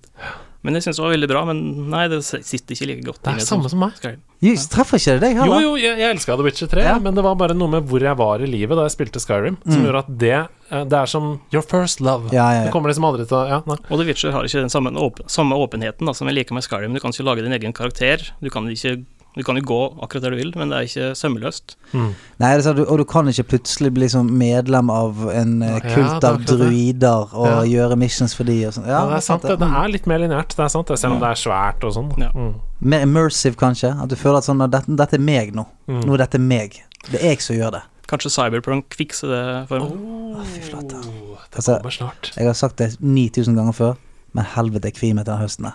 S4: Men jeg syns det var veldig bra, men nei, det sitter ikke like godt
S1: Det
S4: i
S1: er
S4: meg
S1: samme som meg.
S4: Skyrim.
S2: Jøss, treffer ikke det deg
S1: Jo,
S2: heller?
S1: jo, jeg, jeg elska The Witcher 3,
S2: Ja.
S1: men det var bare noe med hvor jeg var i livet da jeg spilte Skyrim, som
S2: Mm.
S1: gjorde at det eh, Det er som your first love.
S2: Ja, ja,
S1: Det
S2: ja.
S1: kommer liksom aldri til å Ja, nei.
S4: Og The Witcher har ikke den samme, åp samme åpenheten da, som jeg liker med Skyrim. Du kan ikke lage din egen karakter. Du kan, ikke, du kan jo gå akkurat der du vil, men det er ikke sømløst.
S1: Mm.
S2: Nei, det er sånn, du- og du kan ikke plutselig bli sånn medlem av en eh,
S1: Ja,
S2: kult
S1: det er
S2: av
S1: akkurat det.
S2: druider og gjøre missions for de og sånn.
S1: Ja,
S2: Ja,
S1: det er sant, det. Det er litt mer lineært, det er sant, det, selv om det er svært og sånn. da.
S4: Ja.
S1: Mm.
S2: Mer immersive, kanskje. At du føler at sånn at dette, dette er meg nå.
S1: Mm.
S2: Nå er dette meg. Det er jeg som gjør det.
S4: Kanskje Cyberpunk fikser det for meg.
S2: fy flate.
S1: Det
S2: Altså-
S1: kommer snart.
S2: Jeg har sagt det 9000 ganger før, men helvete, jeg kvier meg til den høsten der.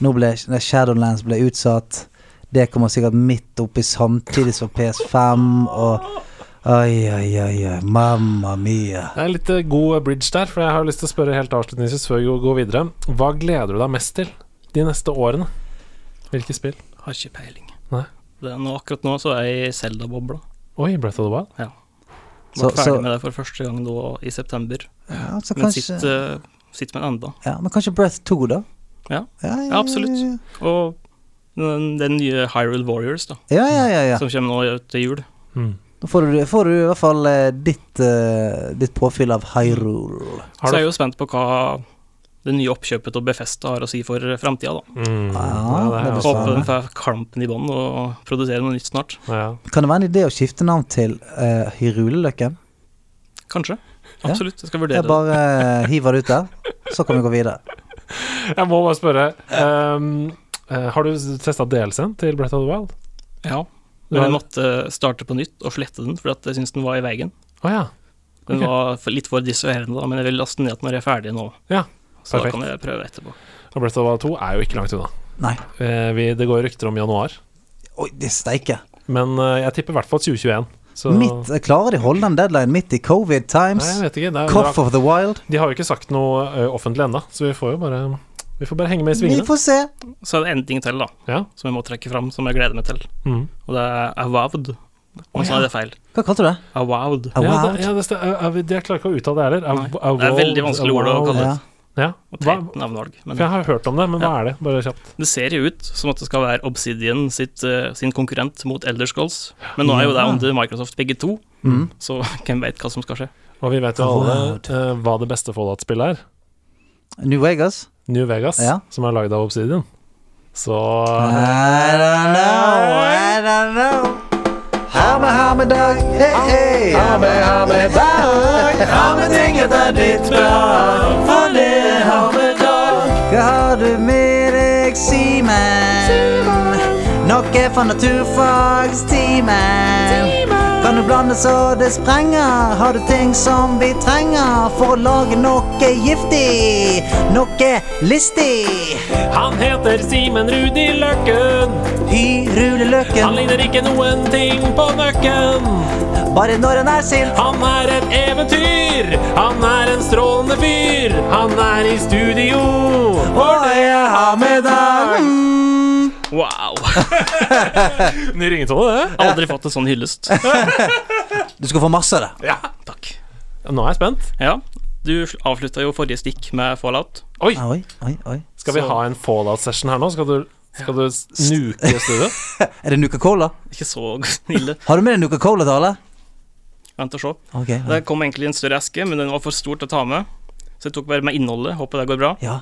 S2: Nå ble nei, Shadowlands ble utsatt. Det kommer sikkert midt oppi samtidig som PS5 og Oi, oi, oi, oi. Mamma mia.
S1: Det er litt eh, god bridge der, for jeg har lyst til å spørre helt avslutningsvis før vi går videre. Hva gleder du deg mest til de neste årene? Hvilke spill?
S4: Har ikke peiling.
S1: Nei.
S4: Det er nå, akkurat nå så er jeg i Zelda-bobla.
S1: Oi, Breath of the Wild.
S4: Ble
S2: Så-
S4: ferdig
S2: så-
S4: med det for første gang nå i september.
S2: Ja, så
S4: Men
S2: kanskje,
S4: sitt, eh, sitt med en enda.
S2: ja, men kanskje Breath 2, da?
S4: Ja.
S2: ja,
S4: Ja, absolutt.
S2: ja.
S4: Og den, den nye Hyrule Warriors, da,
S2: Ja, ja, ja. ja.
S4: som kommer nå til jul.
S1: Mm.
S2: Da får du, får du i hvert fall eh, ditt, eh, ditt påfyll av Hyrule.
S1: Har
S4: Så
S1: du-
S4: jeg er jo spent på hva det nye oppkjøpet til Befesta har å si for framtida, da.
S1: Mm.
S2: Ja,
S1: Ja, det er
S2: det blir
S1: også-
S4: Håper
S2: spennende.
S4: den får klampen i bånn og produserer noe nytt snart.
S1: ja.
S2: Kan det være en idé å skifte navn til uh, Hyruleløkken?
S4: Kanskje.
S2: Ja.
S4: Absolutt, jeg skal vurdere
S2: Jeg
S4: det.
S2: bare eh, hiver det ut der, så kan vi gå videre.
S1: Jeg må bare spørre ehm, eh, Har du testa DLC-en til Breath of the Wild?
S4: Ja.
S1: Du
S4: Men
S1: har-
S4: jeg måtte starte på nytt og slette den, fordi at jeg syntes den var i veien.
S1: Å ja.
S4: Den
S1: Ok.
S4: var for- litt for distraherende, da, men jeg vil laste den ned når jeg er ferdig nå.
S1: Ja,
S4: Så
S1: perfekt.
S4: da kan jeg prøve etterpå.
S1: Og Breath of the Wild 2 er jo ikke langt unna.
S2: Nei.
S1: Eh, vi, det går rykter om januar,
S2: Oi, det steike.
S1: men eh, jeg tipper i hvert fall 2021. Så
S2: Midt, klarer de å holde den deadline midt i
S1: Nei,
S2: covid times?
S1: jeg vet ikke. Det er,
S2: Cough of the wild?
S1: de har jo ikke sagt noe eh, offentlig ennå, så vi får jo bare Vi får bare henge med i
S2: Vi
S1: svingene.
S2: får se.
S4: Så er det en ting til, da,
S1: Ja.
S4: som jeg må trekke fram, som jeg gleder meg til.
S1: Mm.
S4: Og det er Avowed. Nå sa jeg det feil.
S2: Hva kalte du det?
S4: Avowed.
S2: A
S1: Ja,
S2: wild?
S1: det, ja, det, sta- eh, eh, jeg klarer ikke å uttale det heller. A-
S4: Nei,
S1: a
S4: det er veldig
S1: world-
S4: vanskelig
S1: a
S4: ord å
S1: world.
S4: kalle det.
S2: Ja.
S1: Ja.
S4: Og
S1: Hva,
S4: teit navnevalg. Men
S1: for jeg har hørt om det, men hva er det? Bare kjapt.
S4: det ser jo ut som at det skal være Obsidian sitt, eh, sin konkurrent mot Elder Scrolls, men nå er jo det
S2: Ja.
S4: under Microsoft begge to,
S2: Mm.
S4: så hvem veit hva som skal skje.
S1: Og vi vet jo
S2: A
S1: alle
S2: world.
S1: eh, hva det beste Fallout-spillet er.
S2: New Vegas?
S1: New Vegas,
S2: Ja.
S1: som er lagd av Obsidian. Så
S2: I don't know, I don't know. Ha med, ha med dag, hey, hey. Ha med, ha med dag. Ha med ting etter ditt behag, for det har vi dag. Hva har du med deg, Simen? Noe fra naturfagstimen. Kan du blande så det sprenger? Har du ting som vi trenger for å lage noe giftig? Noe listig?
S1: Han heter Simen Rudi Løkken. Han
S2: Hyruleløkken.
S1: ligner ikke noen ting på nøkken.
S2: Bare når han er sint.
S1: Han er et eventyr. Han er en strålende fyr. Han er i studio.
S2: Og jeg har med dag. Mm.
S4: Wow!
S1: Ny ringetone, det.
S4: Aldri fått en sånn hyllest.
S2: Du skal få masse av det.
S4: Takk.
S1: Nå er jeg spent.
S4: Ja, Du avslutta jo forrige stikk med Fallout.
S1: Oi!
S2: Oi, oi, oi.
S1: Skal vi
S4: Så-
S1: ha en fallout-session her nå? Skal du, skal du s- nuke studio?
S2: Er det Nuka Cola?
S4: Ikke så ille.
S2: Har du med deg Nuka Cola, Tale?
S4: Vent og se.
S2: Ok.
S4: Det kom egentlig en større eske, men den var for stor til å ta med. Så jeg tok bare med innholdet. Håper det går bra.
S2: Ja.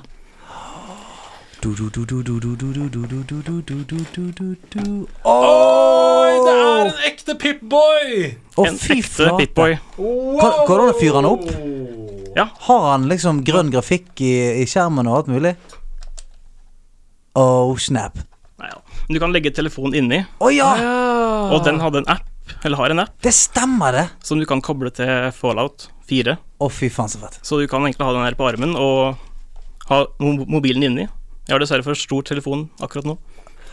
S2: Du, du, du, du, du, du, du, du, du, du, du, du, du, du, du, du.
S1: Oi, det er en ekte Pip-boy!
S2: Å,
S4: en
S2: fy
S4: ekte
S2: flate.
S4: Pip-boy.
S2: Går- går det an å fyre han opp? Har han liksom grønn grafikk i, i skjermen og alt mulig? Oh, snap.
S4: Nei, ja. Men du kan legge telefonen inni,
S2: Å ja!
S1: Ah.
S4: og
S2: Ah.
S4: den hadde en app, eller har en app,
S2: Det stemmer, det.
S4: som du kan koble til Fallout 4.
S2: Å, fy faen, så fett.
S4: Så du kan egentlig ha den her på armen og ha mo- mobilen inni. Jeg har dessverre for stor telefon akkurat nå.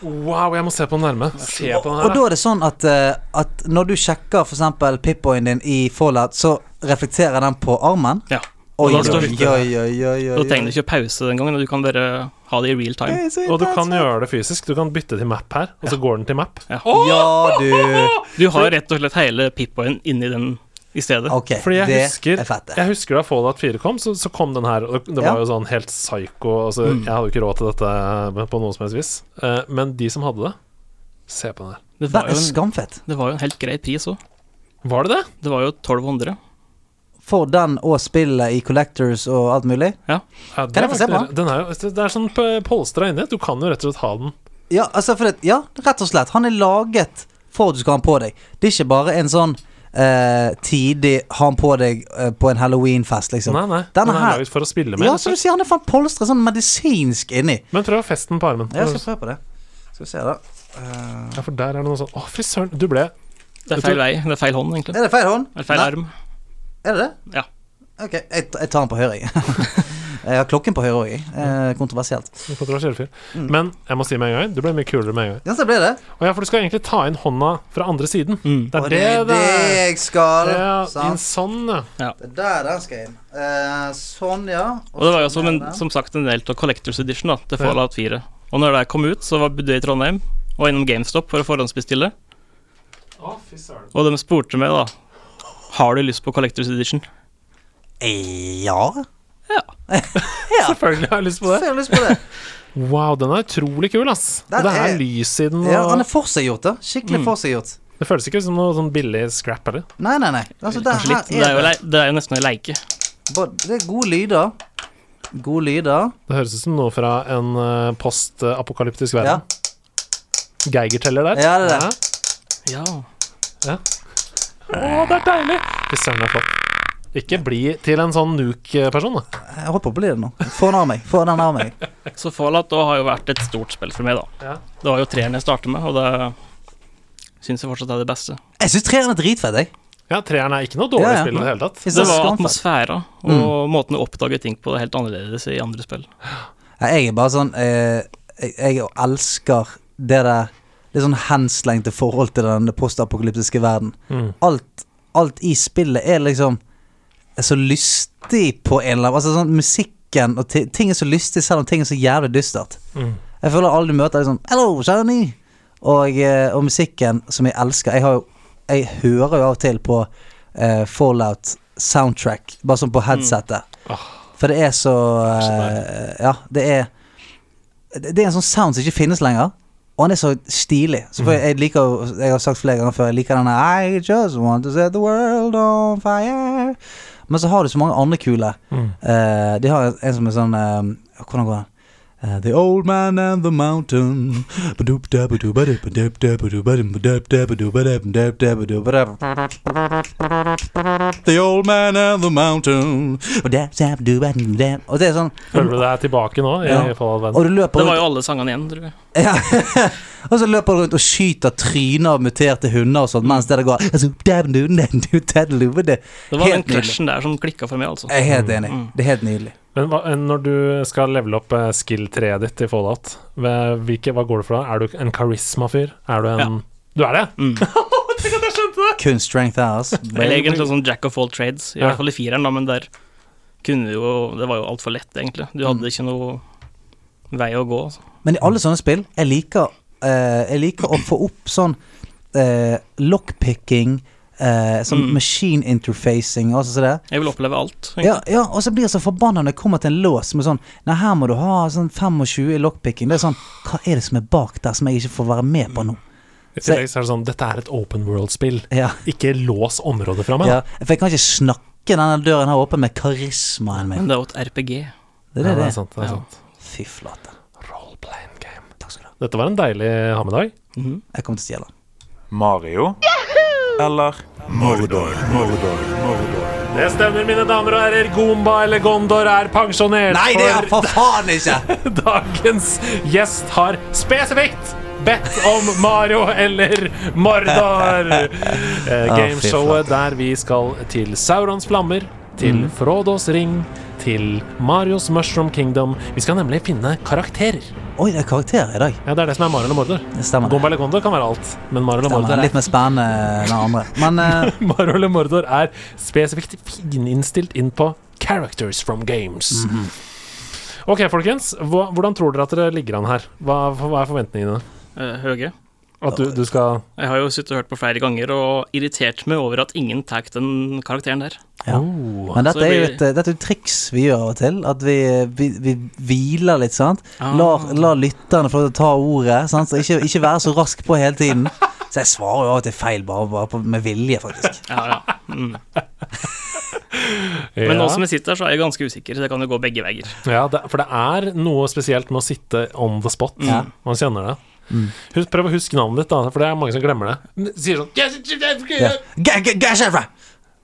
S1: Wow, jeg må se på den nærme. Se på den
S2: Og
S1: her,
S2: da er det sånn at, eh, at når du sjekker f.eks. pipboyen din i Fallout, så reflekterer den på armen?
S4: Ja.
S2: Oi,
S4: da
S2: oi,
S4: står
S2: oi,
S4: det-
S2: oi, oi, oi,
S4: Da trenger du ikke pause den gangen, og du kan bare ha det i real time.
S2: Så
S1: da. Og du
S2: intenst.
S1: kan gjøre det fysisk. Du kan bytte til map her, og så går den til map.
S4: Ja.
S2: Ja, du.
S4: Du har rett og slett hele Pip-boyen inni den i stedet.
S2: Ok,
S1: Fordi jeg
S2: Eh, det
S1: husker,
S2: er fett, det.
S1: jeg husker da Fallout 4 kom, så, så kom den her. Og det, det
S2: Ja. Mm.
S1: var jo sånn helt psycho. Altså, Jeg hadde jo ikke råd til dette på noe som helst vis. Eh, men de som hadde det Se på den her.
S4: Det var
S2: Den
S4: jo
S2: er
S4: en,
S2: skamfett.
S4: det var jo en helt grei pris òg.
S1: Var det det?
S4: Det var jo 1200.
S2: For den og spillet i Collectors og alt mulig.
S1: Ja, det
S2: Kan
S1: var
S2: jeg få se
S1: ikke-
S2: på den?
S1: Den er jo, det er sånn p- polstra inni. Du kan jo rett og slett ha den.
S2: Ja, altså for det, ja, rett og slett. Han er laget for at du skal ha han på deg. Det er ikke bare en sånn eh, tidig ha han på deg eh, på en halloweenfest, liksom.
S1: Nei, nei.
S2: Denne
S1: den er
S2: her-
S1: laget for å spille med.
S2: ja,
S1: rett og
S4: altså-
S2: som du
S1: slett.
S2: sier, han er faen polstret sånn medisinsk inni.
S1: Men prøv å feste den på armen.
S2: Jeg skal prøve på det. Skal vi se, da. Eh,
S1: Ja, for der er det noe sånn Å, fy søren. Du ble
S4: Det er feil vei. Det er feil hånd, egentlig.
S2: er det feil hånd?
S4: Eller feil
S2: Nei,
S4: arm.
S2: Er det det?
S4: Ja.
S2: Ok, jeg, jeg tar den på høyre, jeg. jeg har klokken på høyre òg, jeg. Eh, kontroversielt.
S1: kontroversiell fyr.
S2: Mm.
S1: Men jeg må si med en gang, du ble mye kulere med en gang.
S2: Ja, så ble det.
S1: Og ja, for du skal egentlig ta inn hånda fra andre siden.
S4: Mm.
S1: Det
S2: Og
S1: er det det er.
S2: jeg skal.
S1: Ja,
S2: sant?
S1: en sånn, ja.
S2: Det er der den skal inn. Eh, sånn, ja.
S4: Og det var jo som, en,
S2: sånn er den.
S4: som sagt en del av Collectors Edition da, til Fallout 4. Og når det kom ut, så var bodde jeg i Trondheim og innom GameStop for å forhåndsbestille.
S1: Å, fy søren.
S4: Og de spurte meg da Har du lyst på Collectors Edition.
S2: Eh, Ja.
S4: Ja.
S2: ja.
S1: Selvfølgelig har jeg lyst på
S2: Så
S1: det.
S2: jeg har lyst på det.
S1: Wow, den er utrolig kul, ass.
S2: Den
S1: Og det er
S2: er-
S1: lys i den.
S2: Ja,
S1: Og
S2: han er forseggjort, da.
S4: Mm.
S2: Skikkelig forseggjort.
S1: det føles ikke som noe sånn billig scrap heller.
S2: Nei, nei, nei. Altså, det,
S4: Kanskje litt. Det er jo, lei- det er jo nesten en leike.
S2: både- det er gode lyder. Gode lyder.
S1: Det høres ut som noe fra en eh, post-apokalyptisk
S2: Ja.
S1: verden. Geigerteller der.
S2: Ja, det er det.
S4: Ja.
S1: Å, det er deilig! Fy søren, det er flott. Ikke bli til en sånn nuke-person, da.
S2: Jeg holdt på å bli det nå. Få den av meg. Få den av meg.
S4: Så Fallout da har jo vært et stort spill for meg, da.
S1: Ja.
S4: Det var jo treeren jeg startet med, og det syns jeg fortsatt er det beste.
S2: Jeg syns treeren er dritfett, jeg.
S1: Ja, treeren er ikke noe dårlig
S2: Ja, ja.
S1: spill i det hele tatt.
S2: Jeg synes
S4: Det
S2: er
S4: var
S2: skamfett.
S4: atmosfæra
S2: Mm.
S4: og måten du oppdager ting på, det er helt annerledes i andre spill.
S2: Nei, Jeg er bare sånn eh, Jeg jeg elsker det der Det sånn henslengte forhold til den postapokalyptiske verden.
S1: Mm.
S2: alt, alt i spillet er liksom er så lystig på en eller annen Altså sånn musikken og ti- ting er så lystig selv om ting er så jævlig dystert.
S1: Mm.
S2: Jeg føler alle du møter er liksom Hello, Shani! Og, eh, og musikken som jeg elsker Jeg, har jo, jeg hører jo av og til på eh, Fallout soundtrack, bare sånn på headsetet.
S1: Ah.
S2: For det er så
S1: Det er så
S2: eh, Ja, det er Det det er en sånn sound som ikke finnes lenger. Og han er så stilig. Så
S1: Mm.
S2: for jeg liker jo- Jeg har sagt flere ganger før, jeg liker denne I just want to set the world on fire. Men så har du så mange andre kule.
S1: Mm.
S2: Eh, de har en som er sånn eh, Hvordan går den? Eh, the old man and the mountain The old man and the mountain Og det er sånn
S1: Føler du deg tilbake nå? I
S2: Ja.
S1: Fallout Verden?
S2: Og du løper
S4: Det var
S2: rundt
S4: jo alle sangene igjen, tror jeg.
S2: ja. Og så løper du rundt og skyter tryner av muterte hunder og sånt Mens det der går
S4: Mm.
S2: Det
S4: Det var den
S2: Helt nydelig. Eh,
S4: clashen der som klikka for meg, altså.
S2: Jeg er helt enig Det er helt nydelig
S1: Men hva, eh, når du skal levele opp eh, skill-treet ditt i Fallout, hva- hvilke, hva går det for da? Er du en karisma-fyr? Er du en Du er det?
S4: Mm.
S2: Kun strength ass
S4: Eller egentlig sånn Jack of all trades, i
S1: Ja.
S4: hvert fall i fireren, da, men der kunne du jo Det var jo altfor lett, egentlig. Du
S2: Mm.
S4: hadde ikke noe vei å gå. Altså.
S2: Men i alle sånne spill Jeg liker, eh, jeg liker å få opp sånn eh, Lockpicking eh, sånn
S4: Mm.
S2: machine interfacing og sånn.
S4: Jeg vil oppleve alt. egentlig.
S2: Ja, ja, og så blir jeg så forbanna når jeg kommer til en lås med sånn Nei, her må du ha sånn 25 i lockpicking. Det er sånn Hva er det som er bak der som jeg ikke får være med på nå?
S1: I tillegg så er det sånn Dette er et open world-spill.
S2: Ja,
S1: Ikke lås området fra meg.
S2: ja. For jeg kan ikke snakke denne døren her åpen med karismaen min.
S4: Men det er jo et RPG.
S2: Det er det.
S1: Ja,
S2: det
S1: er sant. Det er
S4: Ja.
S1: sant.
S2: Fy flate.
S1: Roleplaying game.
S2: Takk skal du ha.
S1: Dette var en deilig ha med dag.
S4: Mhm.
S2: Jeg kommer til å stjele den.
S5: Mario eller Mordor. Mordor. Mordor.
S1: Det stemmer, mine damer og herrer. Gomba eller Gondor er pensjonert.
S2: Nei, det er
S1: for
S2: for faen ikke!
S1: dagens gjest har spesifikt bedt om Mario eller Mordor. Eh, Gameshowet der vi skal til Saurons flammer, til
S2: Mm.
S1: Frodos ring, til Marios Mushroom Kingdom. Vi skal nemlig finne karakterer.
S2: Oi, det er karakterer i dag.
S1: Ja, Det er det som er Mario eller Mordor.
S2: Det stemmer.
S1: Gomba eller Gondor kan være alt, men Mario eller
S2: Den
S1: Mordor
S2: var
S1: er
S2: litt mer spennende enn den andre. Men eh,
S1: Mario eller Mordor er spesifikt fininnstilt inn på Characters from Games.
S2: Mhm.
S1: Ok, folkens. Hva, hvordan tror dere at dere ligger an her? Hva, hva er forventningene?
S4: Eh, Høge.
S1: At du, du skal
S4: Jeg har jo sittet og hørt på flere ganger og irritert meg over at ingen tar den karakteren der.
S2: Ja.
S1: Oh.
S2: Men dette
S4: Så
S2: er jo
S4: blir-
S2: et, dette er jo et triks vi gjør av og til. At vi, vi, vi hviler litt, sant.
S4: Ah.
S2: Lar, lar lytterne få lov til å ta ordet. Sant? Så ikke, ikke være så rask på hele tiden. Så jeg svarer jo av og til feil, bare, bare på, med vilje, faktisk.
S4: Ja, ja. Mm.
S1: ja.
S4: Men nå som jeg sitter her, så er jeg ganske usikker. så Det kan jo gå begge veier.
S1: ja, det, For det er noe spesielt med å sitte on the spot.
S2: Ja. Mm.
S1: Man kjenner det. Husk, prøv å huske navnet ditt, da, for det er mange som glemmer det. Men Sier sånn "Yes, yes, yes, yes."
S2: Ja. Ga- ga- ga- sjefra!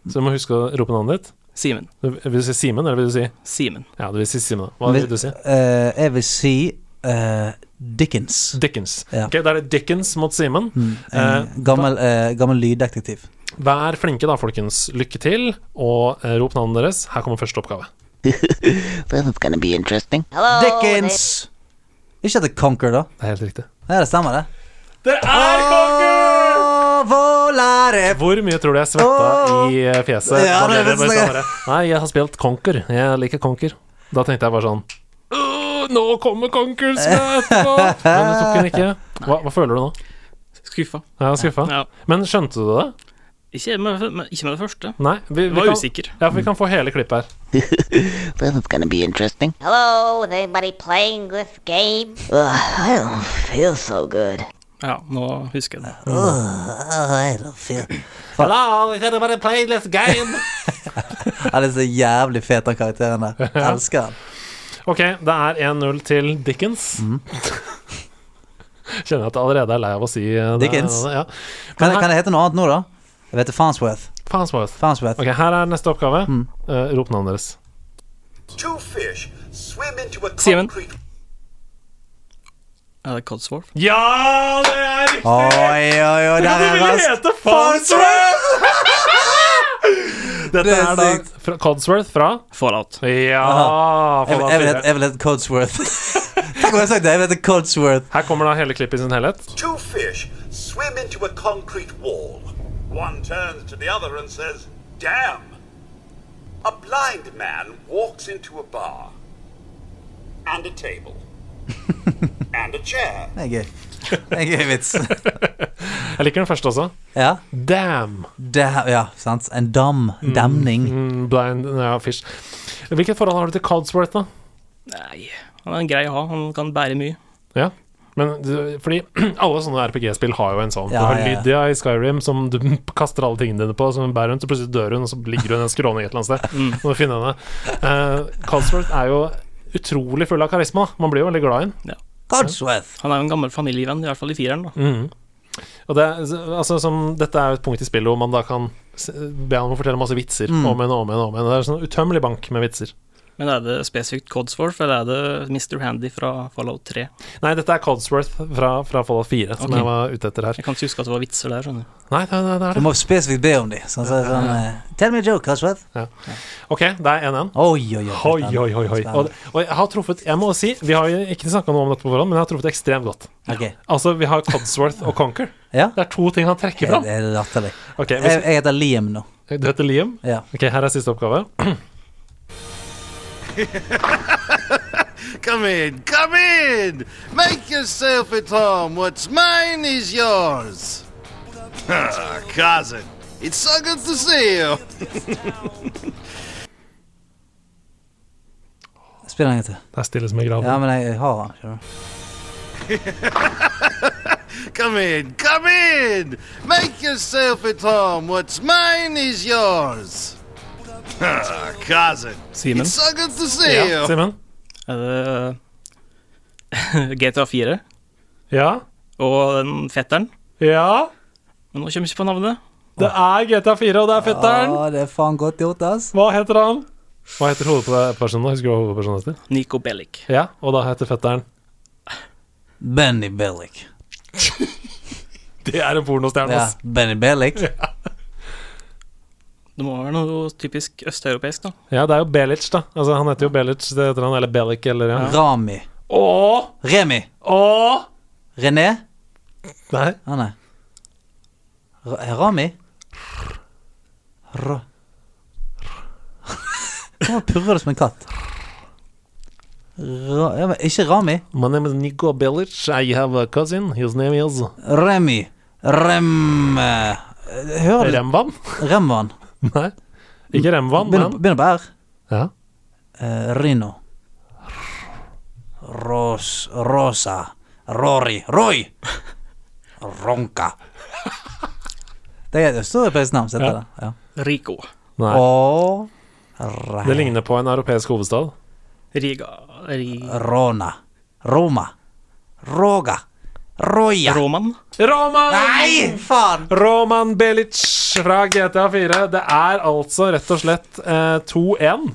S1: Så du må huske å rope navnet ditt.
S4: Simen.
S1: Du- Vil du si Simen, eller vil du si
S4: Simen.
S1: Ja, du vil si Simen. da. Hva vil du si?
S2: Eh, jeg vil si eh, Dickens.
S1: Dickens.
S2: Ja.
S1: Ok, da er det Dickens mot Simen.
S2: Eh,
S1: Eh,
S2: gammel, eh, gammel lyddetektiv.
S1: Vær flinke da, folkens. Lykke til, og eh, rop navnet deres. Her kommer første oppgave.
S6: This is gonna be interesting. Hello.
S2: Dickens! Ikke at det er Conquer, da.
S1: Det er helt riktig.
S2: Ja, det stemmer, det.
S1: Det er kongen!
S2: Å, volare
S1: Hvor mye tror du jeg svetta i eh, fjeset?
S2: Ja,
S1: da
S2: det
S1: dere
S2: vet
S1: bare
S2: jeg.
S1: sa bare, Nei, jeg har spilt Conker. Jeg liker Conker. Da tenkte jeg bare sånn «Åh, Nå kommer Conkers etterpå! Men du tok den ikke. Hva, hva føler du nå?
S4: Skuffa.
S1: Jeg er skuffa.
S4: Ja.
S1: Men skjønte du det?
S4: Ikke, med, med, ikke med det første.
S1: Nei? Vi,
S4: Jeg
S1: vi
S4: var
S1: kan,
S4: usikker.
S1: ja, for vi kan få hele klippet her.
S6: This is gonna be interesting. Hello. Is anybody playing this game? Ugh, I don't feel so good.
S4: Ja, nå husker jeg det.
S1: Hello, is anybody playing this game?
S2: Han er så jævlig fet, den karakteren der. Jeg elsker han.
S1: Ok, det er 1-0 til Dickens.
S2: Mhm.
S1: Kjenner at jeg allerede er lei av å si eh, det.
S2: Dickens.
S1: Ja.
S2: Kan,
S1: Men her,
S2: kan det hete noe annet nå, da? Jeg vet det. Farnsworth.
S1: Farnsworth.
S2: Farnsworth.
S1: Ok, her er neste oppgave.
S2: Mhm.
S1: Eh, rop navnet deres.
S7: Two fish swim into a
S4: Simon.
S7: concrete
S4: Er det Codsworth?
S1: Ja, det er riktig!
S2: Oi, oi, oi, der er rask. Farnsworth!
S1: Dette
S2: Det er
S1: er, da
S2: sykt.
S1: fra Codsworth fra
S4: Fallout.
S1: Ja!
S2: Jeg,
S1: Fallout
S2: jeg, vil
S1: 4.
S2: hete, jeg vil hete Codsworth. Tenk om jeg hadde sagt det. Jeg vil hete Codsworth.
S1: Her kommer da hele klippet i sin helhet.
S7: two fish swim into a concrete wall. One turns to the other and says, "Damn." A blind man walks into a bar and a table and a chair.
S2: Det er gøy. Det er en gøy vits.
S1: Jeg liker den første også.
S2: Ja,
S1: Damn!
S2: det, ja sant. En dam. Demning.
S1: Mm, Blind ja, fish. Hvilket forhold har du til Codsworth, da?
S4: Nei, han er en grei å ha. Han kan bære mye.
S1: Ja. Men du- fordi alle sånne RPG-spill har jo en sånn.
S2: Ja,
S1: du har
S2: ja, ja.
S1: Lydia i Skyrim som du kaster alle tingene dine på, som hun bærer rundt, og plutselig dør hun, og så ligger hun i en skråning et eller annet sted. Mm. Må du finne henne. Uh, Codsworth er jo utrolig full av karisma. da. Man blir jo veldig glad i den.
S2: Codsworth.
S4: Han er jo en gammel familievenn, i hvert fall i fireren. da.
S1: Mm. Og det, altså, som, dette er jo et punkt i spillet hvor man da kan s- be han om å fortelle masse vitser.
S2: Mm.
S1: Om igjen og om igjen. og om igjen Det er en sånn utømmelig bank med vitser.
S4: Men er det spesifikt Codsworth, eller er det Mr. Handy fra Fallout 3?
S1: Nei, dette er Codsworth fra, fra Fallout 4, som
S4: Ok.
S1: jeg var ute etter her.
S4: Jeg kan ikke huske at det var vitser der, skjønner du.
S1: Nei, det, det, det
S2: Du
S1: er det.
S2: må spesifikt be om dem. Sånn, så, sånn, eh, Tell me a joke, Codsworth.
S1: Ok, det er 1-1.
S2: Oi, oi, oi.
S1: Hoi, hoi, hoi, hoi. Og,
S2: Spennende.
S1: og jeg har truffet Jeg må si, vi har jo ikke snakka noe om dette på forhånd, men jeg har truffet ekstremt godt.
S2: Ok.
S1: Altså, vi har Codsworth og Conquer.
S2: Ja?
S1: Det er to ting han trekker fram.
S2: Det Eh, er latterlig.
S1: Ok,
S2: Jeg,
S1: hvis,
S2: jeg heter Liam nå.
S1: Du heter Liam.
S2: Ja.
S1: Ok, her er siste oppgave.
S8: Come in, come in! Make yourself at home. What's mine is yours. Ah, cousin, It's so good to see you.
S2: Spill den en gang til.
S1: Det er stille som i graven.
S2: Ja, men jeg har den. skjønner du.
S8: Come in, come in. Make yourself at home. What's mine is yours. Ah, cousin.
S4: Simen.
S8: It's so good to see
S1: Ja,
S8: you.
S1: Simen?
S4: Er det GTA 4
S1: Ja?
S4: og den fetteren.
S1: Ja?
S4: Men nå kommer jeg ikke på navnet.
S1: Det er GTA4, og det er fetteren!
S2: Ja, det er faen godt gjort, ass.
S1: Hva heter han? Hva heter hovedpersonen? da? Husker du hva hovedpersonen heter?
S4: Nico Bellic.
S1: Ja, og da heter fetteren
S2: Benny Bellic.
S1: Det er en pornostjerne,
S2: Ja,
S1: ass.
S2: Benny Bellic.
S4: Det må være noe typisk østeuropeisk, da.
S1: Ja, det er jo Belic, da. Altså, han heter jo Belic, det heter han, eller Bellic, eller ja.
S2: Rami.
S1: Åh!
S2: Remi.
S1: Åh!
S2: René?
S1: Nei.
S2: Ah, nei. Ra- eh, Rami? Ra... Hvorfor purrer du som en katt? Ra... Ja, men ikke Rami.
S1: My name is Nico Belic. I have a cousin. His name is
S2: Remi. Rem... eh, Hører du?
S1: Remvan.
S2: Remvan.
S1: Nei. Ikke Remvan,
S2: Begynner på-
S1: men
S2: begynner på R.
S1: ja.
S2: Eh, Rino. Ros... Rosa. Rory. Roy! Ronka. Det er et østeuropeisk navn, så heter
S1: Ja.
S2: det. Ja.
S4: Rico.
S1: Nei.
S2: Og
S1: Det ligner på en europeisk hovedstad.
S4: Riga Ri...
S2: Rona. Roma. Roga. Roja.
S4: Roman.
S1: Roman!
S2: Nei, faen!
S1: Roman Belic fra GTA4. Det er altså rett og slett eh, 2-1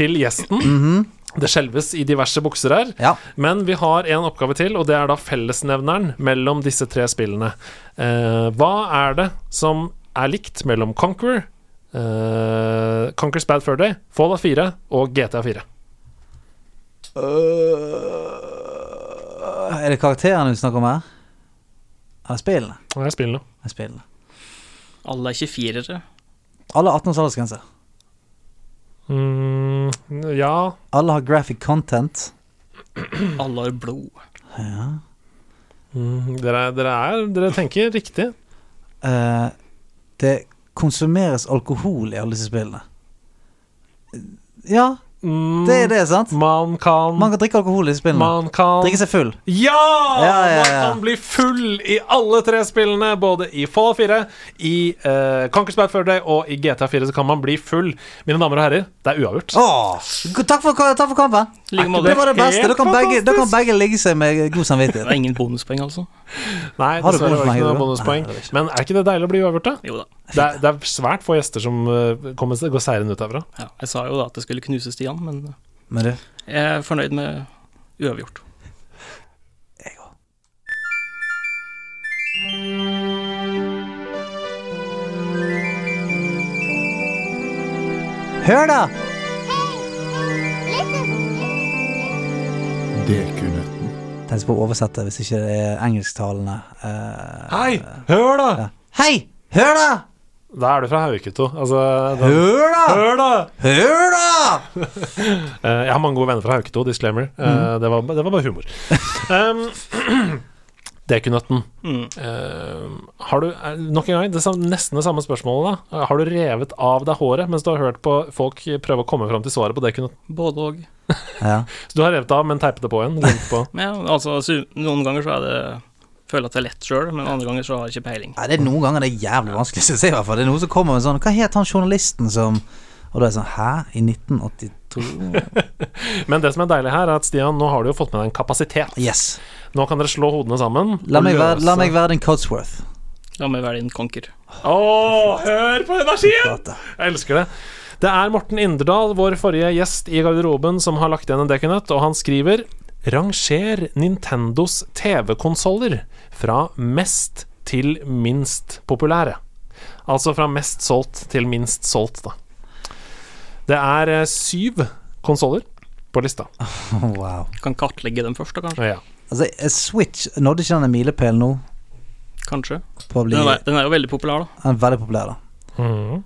S1: til gjesten. Det skjelves i diverse bukser her.
S2: Mhm. Ja.
S1: Men vi har en oppgave til, og det er da fellesnevneren mellom disse tre spillene. Eh, hva er det som er likt mellom Conquer, eh, Conquer's Bad Fur Day, Fallout 4 og GTA4?
S2: Øh, er det karakterene du snakker om her? Eller spillene?
S1: Hva er spillene?
S2: Det er spillene.
S4: Alle er ikke firere.
S2: Alle har 18 års aldersgrense.
S1: Mm, ja
S2: Alle har graphic content.
S4: Alle har blod.
S1: mm, dere, dere, er, dere tenker riktig.
S2: Eh, det konsumeres alkohol i alle disse spillene. Ja,
S1: Mm,
S2: det er det, sant?
S1: Man kan
S2: Man kan drikke alkohol i disse spillene.
S1: Man kan
S2: Drikke seg full.
S1: Ja!
S2: Ja, ja, ja.
S1: Man kan bli full i alle tre spillene, både i Fallout 4, i uh, Conquer's Bad Fur Day og i GTA4. Så kan man bli full. Mine damer og herrer, det er uavgjort.
S2: Åh, go- takk, for, takk for kampen.
S4: Like måte.
S2: Det var det beste. Da kan,
S1: Helt
S2: begge, da kan
S1: fantastisk.
S2: begge ligge seg med god
S4: Det
S2: samvittighet.
S4: er ingen bonuspoeng, altså.
S1: Nei,
S2: Har du
S1: dessverre var det ikke noe
S2: bonuspoeng, Hugo?
S1: bonuspoeng.
S2: Nei, det er ikke.
S1: Men er ikke det deilig å bli uavgjort, da?
S4: Jo da.
S1: Det er, det er svært få gjester som eh, kommer seg, går seirende ut herfra.
S4: Ja, jeg sa jo da at det skulle knuse Stian, men
S2: Men du,
S4: jeg er fornøyd med uavgjort.
S2: hør da! Tenk på å oversette hvis ikke det er engelsktalende. Eh,
S1: Hei, hør, da!
S2: Hei! Hør da!
S1: Da er du fra Hauketo. Altså, da,
S2: Hør da!
S1: hør, da!
S2: Hør da!
S1: Eh, jeg har mange gode venner fra Hauketo, disclaimer. Eh,
S2: Mm.
S1: det, var, det var bare humor. um, Dekunøtten.
S2: Mm.
S1: Eh, har du, eh, nok en gang, det samme, nesten det samme spørsmålet. da Eh, Har du revet av deg håret mens du har hørt på folk prøve å komme fram til svaret på dekunøtten?
S4: Både og.
S2: Ja.
S1: Så du har revet av, men teipet det på igjen? glemt På.
S4: Men ja, altså, su- noen ganger så er det Føler at det er lett sjøl, men andre ganger så har jeg ikke peiling.
S2: ja, det er noen ganger det er jævlig vanskelig, synes jeg i hvert fall. Det er noen som kommer med sånn Hva het han journalisten som Og da er det sånn Hæ? I 1982?
S1: Men det som er deilig her, er at Stian, nå har du jo fått med deg en kapasitet.
S2: Yes.
S1: Nå kan dere slå hodene sammen.
S2: La
S1: og
S2: meg være, la
S1: løse-
S2: meg være din Codsworth.
S4: La meg velge en conquer.
S1: Åh, hør på energien!
S2: Prate.
S1: Jeg elsker det. Det er Morten Inderdal, vår forrige gjest i garderoben, som har lagt igjen en dekunøtt, og han skriver Ranger Nintendos TV-konsoller fra mest til minst populære. Altså fra mest solgt til minst solgt, da. Det er eh, syv konsoller på lista.
S2: Ah. Wow.
S4: Kan kartlegge dem først, da, kanskje.
S1: Ja.
S2: Altså, eh, Switch nådde ikke denne milepælen nå
S4: Kanskje.
S2: på å bli
S4: Den er, den er jo veldig populær, da.
S2: den er veldig populær, da.
S1: Mhm.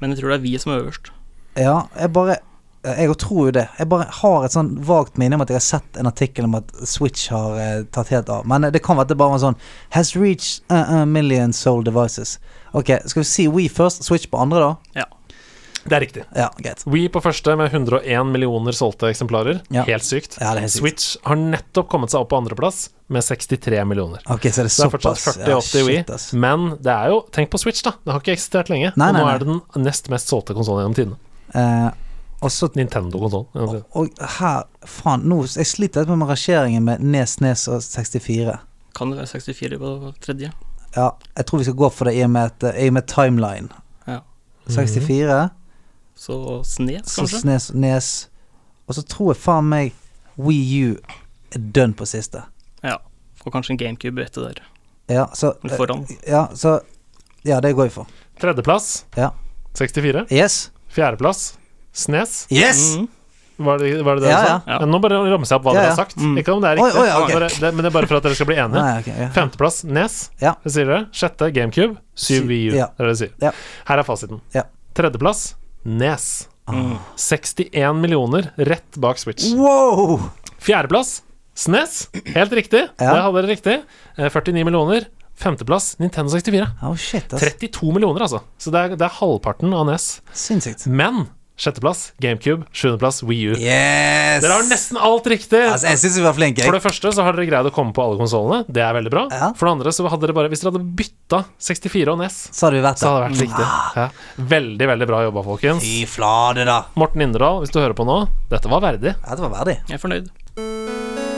S4: Men jeg tror det er vi som er øverst.
S2: Ja, jeg bare Eh, Jeg også tror jo det. Jeg bare har et sånn vagt minne om at jeg har sett en artikkel om at Switch har eh, tatt helt av. Men eh, det kan være at det bare var sånn Has reached eh, a, a million soul devices. Ok, skal vi si We først, Switch på andre, da?
S4: Ja.
S1: Det er riktig.
S2: Ja, greit.
S1: We på første med 101 millioner solgte eksemplarer.
S2: Ja.
S1: Helt sykt.
S2: Ja, det er helt sykt.
S1: Switch har nettopp kommet seg opp på andreplass med 63 millioner.
S2: Ok, så er det
S1: Så det er fortsatt
S2: såpass.
S1: 40 opp til
S2: shit,
S1: Wii.
S2: ass.
S1: Men det er jo Tenk på Switch, da. Det har ikke eksistert lenge.
S2: Nei,
S1: og nå
S2: nei, nei.
S1: er det den nest mest solgte konsollen gjennom tidene.
S2: Eh, og så
S1: Nintendo-konsollen.
S2: Og her Faen, nå Jeg sliter litt med rangeringen med Nes, Nes og 64.
S4: Kan det være 64 på tredje?
S2: Ja, jeg tror vi skal gå for det i og med, at, eh, i og med timeline.
S4: Ja.
S2: 64,
S4: Så Snes,
S2: så
S4: kanskje?
S2: Snes, Nes Og så tror jeg faen meg Wii U er dønn på siste.
S4: Ja. Og kanskje en GameCube etter der.
S2: Ja, så eh,
S4: Eller foran.
S2: Ja, så Ja, det går vi for.
S1: Tredjeplass
S2: Ja.
S1: 64.
S2: Yes?
S1: Fjerdeplass Snes.
S2: Yes!
S4: Mm.
S1: Var det var det, det
S2: Ja,
S1: du sa?
S4: ja. Ja.
S1: Men nå bare ramser jeg opp hva
S2: Ja,
S1: dere
S2: ja.
S1: har sagt.
S4: Mm.
S1: Ikke om det er
S2: Oi,
S1: riktig,
S2: oi, ja, ok.
S1: bare, det, men det er bare for at dere skal bli enige.
S2: Nei, ok, ja.
S1: Femteplass Nes.
S2: Ja.
S1: Det sier dere. Sjette GameCube.
S2: Syv,
S1: Syv VU.
S2: ja.
S1: Det er det dere sier.
S2: Ja.
S1: Her er fasiten.
S2: Ja.
S1: Tredjeplass Nes. 61 millioner rett bak Switch.
S2: Ah. Wow!
S1: Fjerdeplass SNES. Helt riktig.
S2: Ja.
S1: Det hadde dere riktig. Eh, 49 millioner. Femteplass Nintendo 64.
S2: Oh, shit, ass.
S1: 32 millioner, altså. Så det er, det er halvparten av NES.
S2: Sinnssykt.
S1: Men sjetteplass GameCube. Sjuendeplass Wii U.
S2: Yes!
S1: Dere har nesten alt riktig!
S2: Altså, jeg syns vi var flinke.
S1: For
S2: Jeg.
S1: det første så har dere greid å komme på alle konsollene. Det er veldig bra.
S2: Ja.
S1: For det andre så hadde dere bare Hvis dere hadde bytta 64 og NES,
S2: Så hadde vi vært
S1: så hadde
S2: der.
S1: det vært riktig. Ja. Veldig, veldig bra jobba, folkens.
S2: Fy flate, da.
S1: Morten Inderdal, hvis du hører på nå, dette var verdig.
S2: Ja, det var verdig.
S4: Jeg er fornøyd.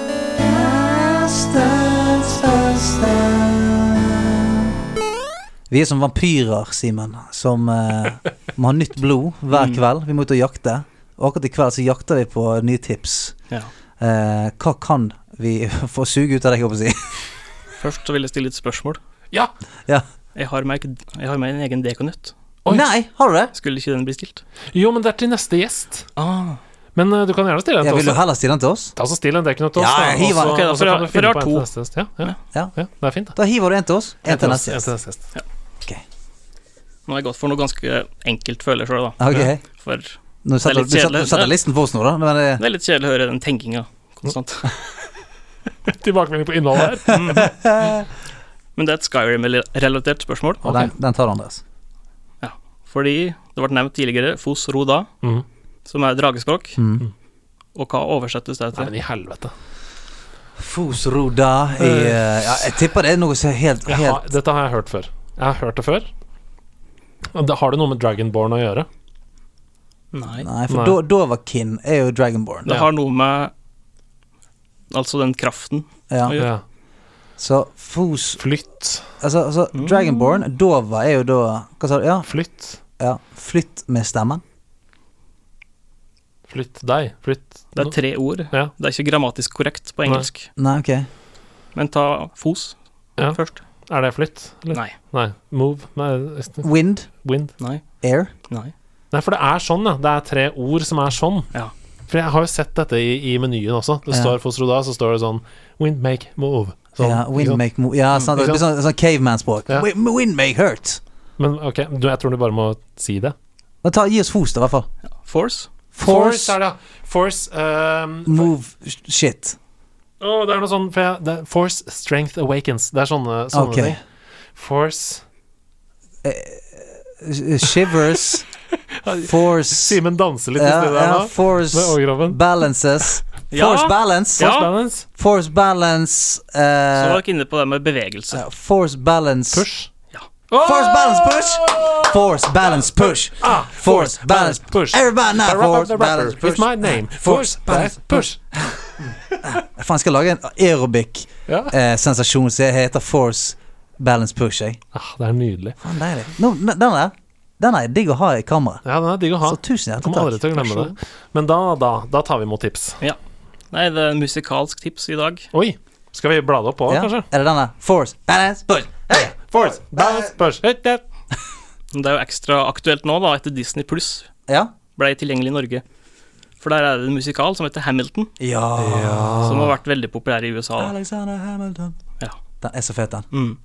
S2: Vi er som vampyrer, Simen, som eh, må ha nytt blod hver kveld. Vi må ut og jakte. Og akkurat i kveld så jakter vi på nye tips.
S4: Ja.
S2: Eh, hva kan vi få suge ut av deg, holdt jeg på å si?
S4: Først så vil jeg stille et spørsmål.
S1: Ja!
S2: Ja.
S4: Jeg har meg, ikke- jeg har meg en egen Dekonøtt.
S1: Oi.
S2: Nei, har du det?
S4: Skulle ikke den bli stilt?
S1: Jo, men det er til neste gjest.
S4: Ah.
S1: Men eh, du kan gjerne stille en
S2: Jeg
S1: til
S2: vil
S1: oss.
S2: jo heller stille den til oss.
S1: Ta så Still en dekknøtt til oss,
S2: Ja,
S1: da,
S2: jeg hiver
S1: og
S4: Ok,
S1: så-
S2: den.
S4: da,
S1: og så
S4: for
S1: kan
S4: jeg-
S1: du
S4: for
S1: finne
S4: jeg
S1: på
S4: har
S1: en
S4: to.
S1: til neste gjest. Ja, ja.
S2: Ja.
S1: ja, det er fint, det.
S2: Da hiver du en til oss. En til
S1: oss,
S2: neste
S1: en
S2: gjest.
S1: neste gjest.
S4: Nå har jeg gått for noe ganske enkelt, føler jeg sjøl, da.
S2: Ok.
S4: For det
S2: Nå setter,
S4: litt
S2: du, setter,
S4: kjedelig.
S2: du setter listen for oss nå, da. Men det,
S4: er litt kjedelig å høre den tenkinga konstant.
S1: Tilbakemelding på innholdet her.
S4: Men det er et Skyrim-relatert spørsmål.
S2: og den, den tar du, Andreas.
S4: Fordi det ble nevnt tidligere Fos Roda,
S1: Mhm.
S4: som er dragespråk. Og hva oversettes det
S1: Nei,
S4: til?
S1: men i helvete.
S2: Fosroda i eh, ja, Jeg tipper det er noe som er helt,
S1: Jeg har,
S2: helt
S1: dette har jeg hørt før. Jeg har hørt det før. Og det- Har det noe med Dragonborn å gjøre?
S4: Nei.
S2: Nei,
S1: Nei.
S2: for Do- Dovakin er jo Dragonborn.
S4: Det har noe med Altså den kraften.
S2: Ja.
S4: Oi.
S1: Ja.
S2: Så Fos
S1: Flytt.
S2: Altså, altså
S1: Mm.
S2: Dragonborn, Dova er jo da Hva sa du? Ja,
S1: Flytt.
S2: ja flytt med stemmen.
S1: Flytt deg. Flytt
S4: Det er tre ord.
S1: Ja.
S4: Det er ikke grammatisk korrekt på
S1: Nei.
S4: engelsk.
S2: Nei, ok.
S4: Men ta Fos
S1: Ja.
S4: først.
S1: Er det flytt? Eller?
S4: Nei.
S1: Nei. Move. Nei.
S2: Wind,
S1: Wind.
S4: Nei.
S2: air.
S4: Nei.
S1: Nei, for det er sånn, ja. Det er tre ord som er sånn.
S4: Ja.
S1: For jeg har jo sett dette i, i menyen også. Det
S2: Ja.
S1: står Fosroda, så står det sånn Wind make move. Sånn,
S2: ja,
S1: ikke
S2: wind
S1: sant? Mm,
S2: make mo... Ja, sant, det
S1: Ikke
S2: blir sånn, sånn caveman-språk.
S1: Ja.
S2: Wi- Wind make hurt.
S1: Men ok, du, jeg tror du bare må si det.
S2: Men ta, gi oss fos, da, i hvert fall.
S4: Force.
S2: Force,
S1: er det, ja. Force ehm,
S2: move, sh- shit.
S1: Å, det er noe sånn for jeg, det, er Force Strength Awakens. Det er sånne, sånne
S2: Ok.
S1: ting. Force
S2: Sh- Shivers, force
S1: Simen danser litt i
S2: ja,
S1: stedet her
S2: ja,
S1: nå.
S2: Force
S1: Med overkroppen.
S2: balances.
S4: Ja.
S2: Force balance.
S1: Force
S4: Ja.
S1: balance.
S2: Force balance
S4: Så
S2: eh,
S4: var dere inne på det med bevegelse.
S2: ja, Force balance
S1: Push.
S4: Ja.
S2: Force balance push. Force balance push.
S1: Ah,
S2: Force balance push. Everybody now. Force balance push. Ah,
S1: It's my name. Force balance push.
S2: Faen, skal lage en aerobic
S1: Ja.
S2: eh, sensasjon som heter Force balance push. Jeg.
S1: Ah, det er nydelig.
S2: Faen, deilig. Nå, ne- den der Den er digg å ha i kammeret.
S1: Ja, den er digg å ha.
S2: Så tusen
S1: Jeg kommer
S2: hjertelig
S1: aldri
S2: takk.
S1: til å glemme det. Men da, da, da tar vi imot tips.
S4: Ja. Nei, det er musikalsk tips i dag.
S1: Oi. Skal vi blade opp òg,
S2: Ja.
S1: kanskje?
S2: Er det den der? Force balance push. Hey!
S1: Force balance push. Hit that.
S4: Men Det er jo ekstra aktuelt nå, da, etter Disney pluss
S2: Ja.
S4: ble tilgjengelig i Norge. For der er det en musikal som heter Hamilton,
S2: ja.
S4: som har vært veldig populær i USA. da.
S2: Alexander Hamilton.
S4: Ja.
S2: Den er så fet, den.
S4: Mm.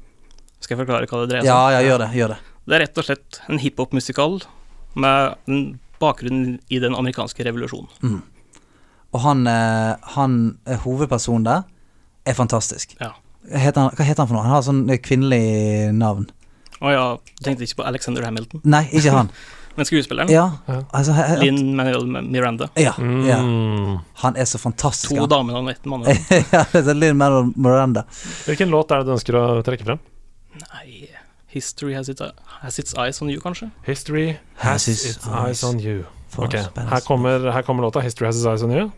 S4: Skal jeg forklare hva det dreier seg
S2: Ja,
S4: om?
S2: ja, gjør det. Gjør det.
S4: Det er rett og slett en hiphop-musikal med en- bakgrunn i den amerikanske revolusjonen.
S2: Og han, eh, han eh, hovedpersonen der er fantastisk.
S4: Ja.
S2: Heter han, hva heter han for noe? Han har sånn eh, kvinnelig navn.
S4: Å ja, du tenkte ikke på Alexander Hamilton,
S2: Nei, ikke han.
S4: men skuespilleren.
S2: Ja, altså he- he-
S4: Lin Manuel Miranda.
S2: ja, ja.
S1: Mm.
S2: Han er så fantastisk.
S4: To
S2: han.
S4: damer og ett mann. Nei,
S2: ja, det er Lin Manuel Miranda.
S1: Hvilken låt er det du ønsker å trekke frem?
S4: History has, it, has its eyes on you, kanskje?
S1: History has
S2: Has its
S1: its eyes on you.
S2: For
S1: Ok,
S2: spennende.
S1: her kommer, her kommer låta 'History Has Its Eyes On You'.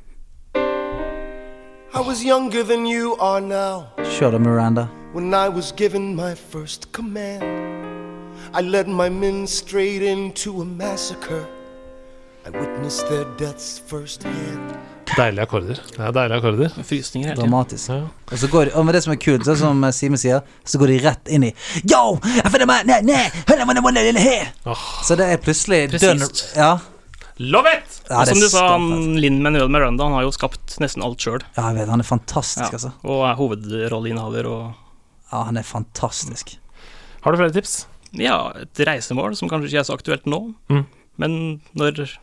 S9: I was younger than you are now
S2: Kjør det, Miranda.
S9: when I was given my first command. I led my men straight into a massacre. I witnessed their deaths firsthand.
S1: Deilige akkorder. Det er deilige akkorder.
S4: Frysninger hele tiden.
S2: Dramatisk.
S1: Ja.
S2: Og så går de, og med det som er kult, sånn som eh, Simen sier, så går de rett inn i Yo! I feel my- nei, nei, hold on, hold on, hold on, here!" Så det er plutselig dønn-
S4: Presist.
S2: Ja,
S1: Love it!
S2: ja, det er
S4: Som du sa,
S2: skapende.
S4: han, Lin Manuel Miranda han har jo skapt nesten alt sjøl.
S2: Ja, jeg vet, han er fantastisk,
S4: Ja,
S2: altså.
S4: og er hovedrolleinnehaver og
S2: Ja, han er fantastisk.
S1: Har du flere tips?
S4: ja, et reisemål som kanskje ikke er så aktuelt nå,
S1: Mm.
S4: men når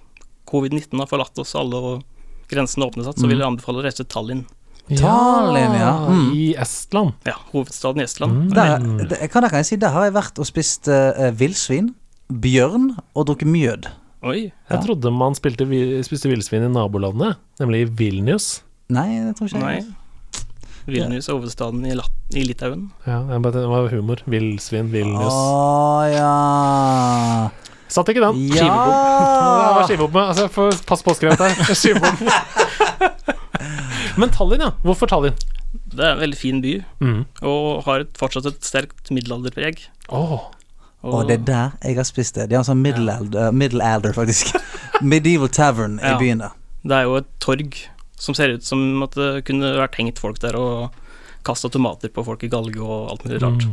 S4: covid-19 har forlatt oss alle og grensene åpnes igjen, så vil jeg
S2: Mm.
S4: anbefale å reise til Tallinn.
S2: Tallinn, ja. Mm.
S1: I Estland.
S4: Ja, hovedstaden i Estland.
S2: Der, Mm. det- kan, der kan jeg si, der har jeg vært og spist eh, villsvin, bjørn og drukket mjød.
S4: Oi,
S1: Jeg trodde man spilte, vi- spiste villsvin i nabolandet, nemlig i Vilnius.
S2: Nei, det tror ikke
S4: nei.
S2: jeg.
S4: Vilnius er hovedstaden i, Lat i Litauen.
S1: Ja, jeg bare- det var humor. Villsvin, Vilnius.
S2: Ah. Å ja.
S1: Satt ikke den? Det var
S2: Ja!
S1: skivebom med. Altså, jeg får passe påskrevet her. Skivebom. Men Tallinn, ja. Hvorfor Tallinn?
S4: Det er en veldig fin by,
S1: Mhm.
S4: og har et, fortsatt et sterkt middelalderpreg.
S1: Åh,
S4: Og,
S2: Og det er der jeg har spist det. De har en sånn middelalder, middelalder faktisk. Medieval tavern i
S4: Ja.
S2: byen der.
S4: det er jo et torg som ser ut som at det kunne vært hengt folk der og kasta tomater på folk i galge og alt mulig
S2: Mm.
S4: rart.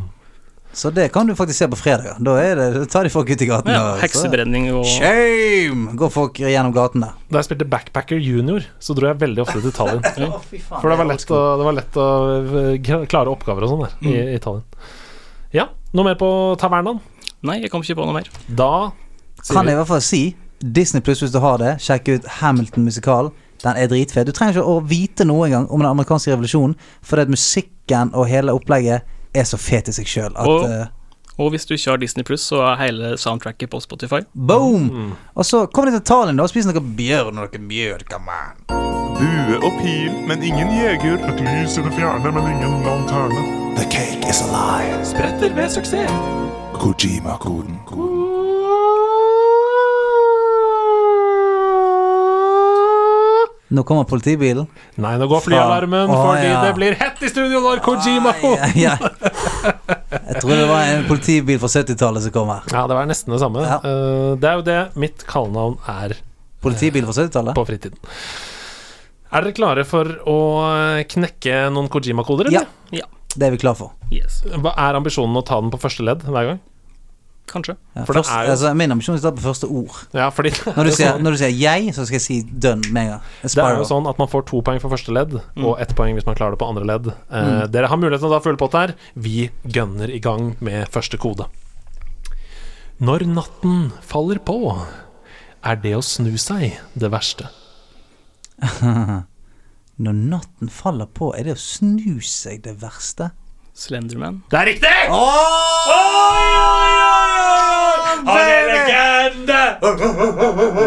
S2: Så det kan du faktisk se på fredager. Da er det, da tar de folk ut i gaten.
S4: Ja,
S2: og så-
S4: heksebrenning og
S2: Shame! Går folk gjennom gatene.
S1: Da jeg spilte Backpacker Junior, så dro jeg veldig ofte til Tallinn. For
S2: For
S1: det var lett å, det var lett å eh, klare oppgaver og sånn der
S2: Mm.
S1: i, i Tallinn. Ja, noe mer på tavernaen?
S4: Nei, jeg kom ikke på noe mer.
S1: Da sier
S2: Kan
S1: vi
S2: jeg i hvert fall si Disney pluss hvis du har det, sjekk ut Hamilton musikal. Den er dritfet. Du trenger ikke å vite noe engang om den amerikanske revolusjonen, fordi at musikken og hele opplegget er så fet i seg sjøl at
S4: Og-
S2: eh,
S4: Og hvis du ikke har Disney Pluss, så er hele soundtracket på Spotify.
S1: Mm,
S2: Boom! Og så kommer de til Tallinn da og spiser noe bjørn og noe mjød. Come on.
S5: Bue og pil, men ingen jeger.
S3: Et lys i det fjerne, men ingen lanterne.
S10: The cake is alive.
S1: spretter ved suksess.
S10: Kojima-koden.
S2: Nå kommer politibilen.
S1: Nei, nå går flyalarmen
S2: Faen. Å,
S1: fordi
S2: ja.
S1: det blir hett i studio når Kojima
S2: Ja, ja. Jeg tror det var en politibil fra 70-tallet som kom her.
S1: Ja, det var nesten det samme.
S2: Ja.
S1: Eh, det er jo det mitt kallenavn er
S2: Politibil fra 70-tallet?
S1: på fritiden. Er dere klare for å eh, knekke noen Kojima-koder,
S2: Ja.
S1: eller?
S4: Ja,
S2: Det er vi klar for.
S4: yes,
S1: Hva er ambisjonen å ta den på første ledd hver gang?
S4: kanskje.
S2: Ja,
S1: For det
S2: først,
S1: er jo-
S2: altså, min ambisjon er å starte på første ord.
S1: Ja, fordi
S2: Når du, sier, når du sier 'jeg', så skal jeg si 'done' med en gang.
S1: Det er
S2: Spiral.
S1: jo sånn at man får to poeng for første ledd, og ett poeng hvis man klarer det på andre ledd. Eh, Dere har muligheten til å ta full pott her. Vi gønner i gang med første kode. Når natten faller på, er det å snu seg det verste.
S2: Når natten faller på, er det å snu seg det verste?
S4: Slenderman.
S1: Det er riktig! Han er legende!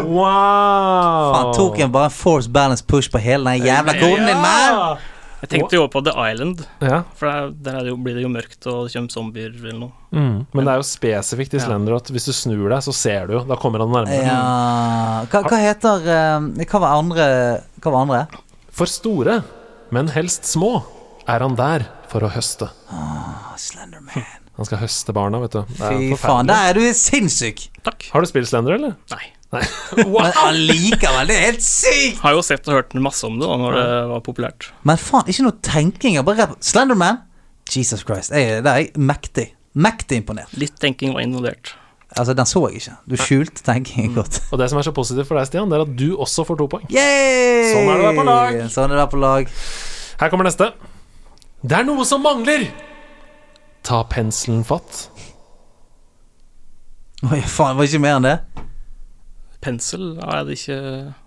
S1: Wow.
S2: Han tok en bare en force balance push på hele den jævla koden din, mann!
S4: Jeg tenkte jo på The Island,
S1: Ja,
S4: for der, der er det jo, blir det jo mørkt og det kommer zombier eller noe.
S1: mm. Men det er jo spesifikt i Slender at hvis du snur deg, så ser du jo. Da kommer han nærmere.
S2: Ja Hva, hva heter eh, Hva var andre? Hva var andre?
S1: For store, men helst små, er han der for å høste.
S2: Ah, Slenderman.
S1: Han skal høste barna, vet du. Det er
S2: Fy
S1: forferdelig.
S2: faen, der er du sinnssyk!
S4: Takk.
S1: Har du spilt Slender, eller?
S4: Nei.
S2: Men allikevel, det er helt sykt!
S4: Har jo sett og hørt masse om det da når det var populært.
S2: Men faen, ikke noe tenking. Jeg bare rapp. Slenderman! Jesus Christ. Jeg, der er jeg mektig. Mektig imponert.
S4: Litt tenking var involvert.
S2: Altså, den så jeg ikke. Du skjulte tenkingen godt.
S1: Og det som er så positivt for deg, Stian, det er at du også får to poeng.
S2: Yay!
S1: Sånn er det å være på lag.
S2: Sånn er det å være på lag.
S1: Her kommer neste. Det er noe som mangler! Ta penselen fatt.
S2: Oi, faen, det var ikke mer enn det.
S4: pensel? Er det ikke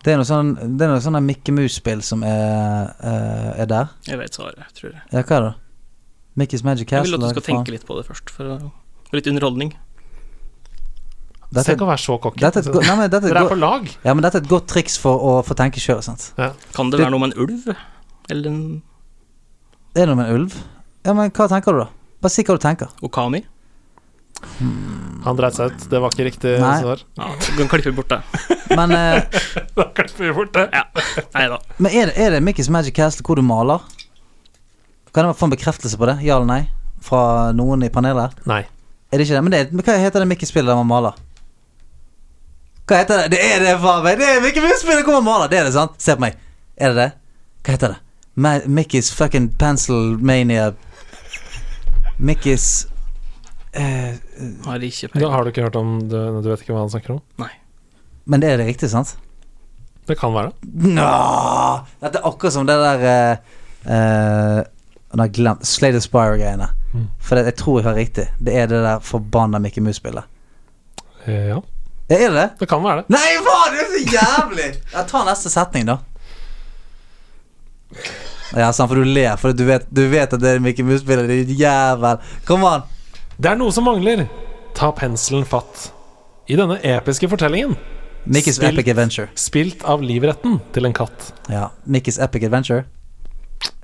S2: Det er noe sånn Det er noe sånn der Mikke Mus-spill som er, eh, er der.
S4: Jeg vet svaret, tror jeg.
S2: Ja, hva er det? Mickey's Magic
S4: Jeg
S2: Castle?
S4: vil at du
S2: eller
S4: skal
S2: hva faen?
S4: tenke litt på det først, for, å, for litt underholdning.
S2: Dette-
S4: Så jeg kan være så cocky.
S2: Dette er et go- nei, men dette
S4: Dere er
S2: go-
S4: på lag.
S2: Ja, men dette er et godt triks for å få tenke sjøl, sant.
S4: Kan det
S2: Det-
S4: være noe med en ulv? Eller en
S2: Er det noe med en ulv? Ja, men hva tenker du, da? Bare si hva du tenker.
S4: okami?
S1: Han dreit seg ut. Det var ikke riktig
S2: Nei.
S1: svar.
S4: Ja, du kan klippe bort det.
S2: Men, eh,
S1: da klipper vi bort det.
S4: Ja. Nei da.
S2: Men er det, er det Mickey's Magic Castle hvor du maler? Kan jeg få en bekreftelse på det? Ja eller nei? Fra noen i panelet?
S1: Nei.
S2: Er det ikke det? Men, det, men hva heter det Mickey-spillet der man maler? Hva heter det? Det er det, faen meg! Det er Mickey Mouse-spillet hvor man maler! Det er det, sant? Se på meg. Er det det? Hva heter det? Ma Mickey's fucking pencil mania Mickey's eh,
S4: Har ikke
S1: Da har du ikke hørt om du, du vet ikke hva han snakker om?
S2: Men det er det riktig, sant?
S1: Det kan være det.
S2: Nå! Dette er akkurat som det der eh, eh, Nå har jeg glemt Slade Aspire-greiene. For det, jeg tror jeg har riktig. Det er det der forbanna Mickey Mouse-spillet.
S1: Eh, Ja.
S2: Er det det?
S1: Det kan være det.
S2: Nei, faen! Det er så jævlig! Ja, ta neste setning, da. Ja, sant, for du ler, for du vet, du vet at det er Mickey Mouse-spillet, din jævel. Kom an!
S1: Det er noe som mangler. Ta penselen fatt. I denne episke fortellingen
S2: Mickey's
S1: Spilt-
S2: Epic Adventure.
S1: Spilt av livretten til en katt.
S2: Ja, Mickey's Epic Adventure.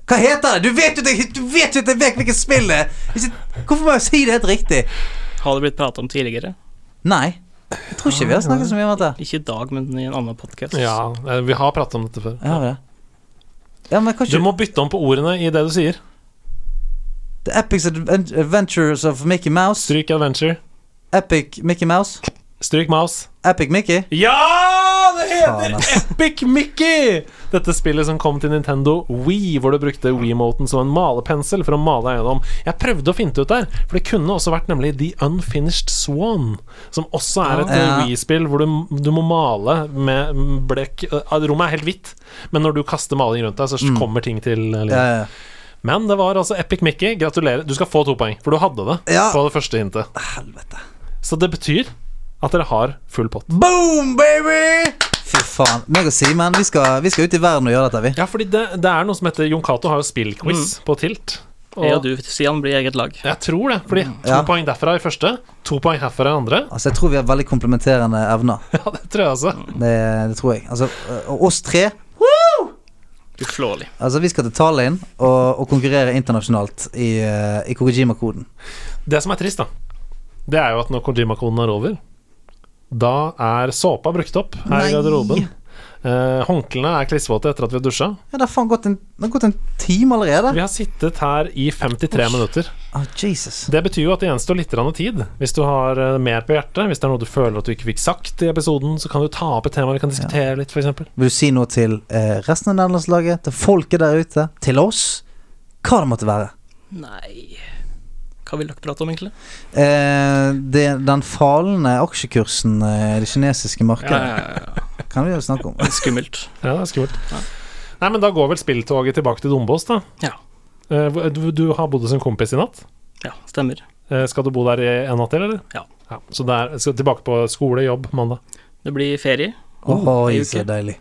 S2: Hva heter det? Du vet jo at jeg- du vet jo at jeg vet hvilket spill det er! Hvis jeg- Hvorfor må jeg si det helt riktig?
S4: Har det blitt prata om tidligere?
S2: Nei. Jeg tror ikke vi har snakket så mye om dette.
S4: Ikke i dag, men i en annen podkast.
S1: Ja, eh, vi har pratet om dette før.
S2: Ja, det. Ja, men kanskje
S1: Du må bytte om på ordene i det du sier.
S2: The Epic Adven- Adventures of Mickey Mouse.
S1: Stryk Adventure.
S2: Epic Mickey Mouse.
S1: Stryk Mouse.
S2: Epic Mickey.
S1: Ja! Det
S2: Faen,
S1: heter
S2: ass.
S1: Epic Mickey! Dette spillet som kom til Nintendo Wii, hvor du brukte Wiimoten som en malepensel for å male deg gjennom. Jeg prøvde å finne det ut der, for det kunne også vært nemlig The Unfinished Swan, som også er et
S2: Ja.
S1: eh, Wii-spill hvor du, du må male med blekk eh, Rommet er helt hvitt, men når du kaster maling rundt deg, så kommer ting til eh, liv.
S2: Ja, Mm. ja, ja.
S1: Men det var altså Epic Mickey. Gratulerer. Du skal få to poeng, for du hadde det
S2: Ja.
S1: på det første hintet.
S2: Helvete.
S1: Så det betyr at dere har full pott.
S2: Boom, baby! Fy faen. Meg og Simen, vi skal, vi skal ut i verden og gjøre dette, vi.
S1: Ja, fordi det, det er noe som heter Jon Cato har jo spillquiz på Tilt. Og
S4: Jeg og du, Sian, blir eget lag.
S1: jeg tror det. Fordi to
S2: Ja.
S1: poeng derfra i første, to poeng herfra i andre.
S2: Altså, jeg tror vi har veldig komplementerende evner.
S1: Ja, det tror jeg altså.
S2: Det, det tror jeg. Altså, og oss tre
S4: Uslåelig.
S2: Altså, vi skal til Tallinn og, og konkurrere internasjonalt i, eh, i Kogijima-koden.
S1: Det som er trist, da, det er jo at når Kojima-koden er over, da er såpa brukt opp her
S2: Nei.
S1: i garderoben. Eh, håndklærne er klissvåte etter at vi har dusja.
S2: Ja, det har faen gått en, det har gått en time allerede.
S1: Vi har sittet her i 53 minutter.
S2: Å, Jesus.
S1: Det betyr jo at det gjenstår litt grann tid. Hvis du har eh, mer på hjertet, hvis det er noe du føler at du ikke fikk sagt i episoden, så kan du ta opp et tema vi kan diskutere litt, f.eks.
S2: Vil du si noe til eh, resten av nederlandslaget, til folket der ute, til oss? Hva det måtte være.
S4: Nei Hva vil dere prate om, egentlig?
S2: Eh, det, den falne aksjekursen eh, i det kinesiske markedet kan vi jo snakke om.
S4: Skummelt.
S1: Ja, det er skummelt. Nei, men da går vel spilltoget tilbake til Dombås, da.
S4: Ja.
S1: Eh, hvor- Du, du har bodd hos en kompis i natt.
S4: Ja, stemmer.
S1: Eh, Skal du bo der i en natt til, eller?
S4: Ja.
S1: så der, skal tilbake på skole, jobb, mandag.
S4: Det blir ferie.
S2: Oi,
S4: ei uke.
S2: så deilig.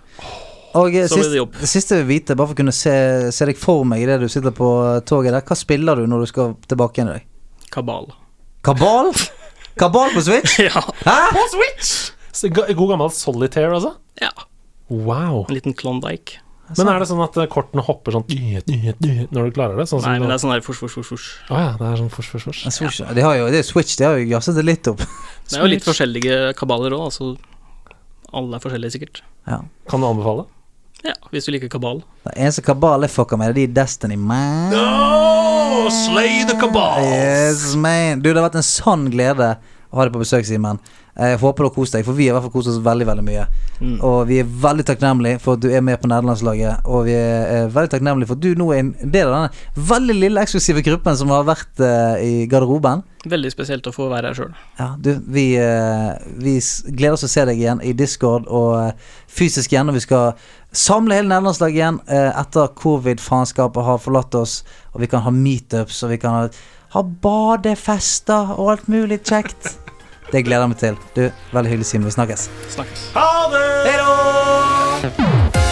S2: Og eh,
S4: Så blir det
S2: sist,
S4: jobb.
S2: det siste jeg vil vite, bare for å kunne se, se deg for meg idet du sitter på eh, toget der, hva spiller du når du skal tilbake igjen i dag?
S4: Kabal.
S2: Kabal? Kabal på Switch?
S4: Ja.
S2: Hæ?
S1: Så ga- God gammel solitaire, altså?
S4: ja.
S1: Wow.
S4: En liten Klondyke.
S1: Men er det sånn at eh, kortene hopper sånn dyhet, dyhet, dyhet, når du klarer det? Sånn som
S4: Nei, men det
S1: det
S4: er sånn der fors, fors, fors, fors.
S1: Å ja, det er sånn fors, fors, fors.
S2: Jeg tror ikke- De har jo, det er Switch, de har jo jazset det litt opp.
S4: Det er jo litt forskjellige kabaler òg, altså. Alle er forskjellige, sikkert.
S1: Kan du anbefale?
S4: Ja, hvis du liker kabal.
S2: Den eneste kabal jeg fucker med, det er de i Destiny, man.
S1: No! Slay the cabal!
S2: Yes, man. Du, det har vært en sann glede å ha deg på besøk, Simen. Eh, Jeg håper du har kost deg, for vi har i hvert fall kost oss veldig veldig mye. Og vi er veldig takknemlige for at du er med på nederlandslaget. Og vi er eh, veldig takknemlige for at du nå er en del av denne veldig lille eksklusive gruppen som har vært eh, i garderoben.
S4: Veldig spesielt å få være her sjøl.
S2: Ja, du, vi, eh, vi s- gleder oss til å se deg igjen i Discord og eh, fysisk igjen. Og vi skal samle hele nederlandslaget igjen eh, etter covid-faenskapet har forlatt oss. Og vi kan ha meetups, og vi kan ha, ha badefester og alt mulig kjekt. Det gleder jeg meg til. Du, Veldig hyggelig, Simen. Vi snakkes.
S4: Snakkes.
S11: Ha det!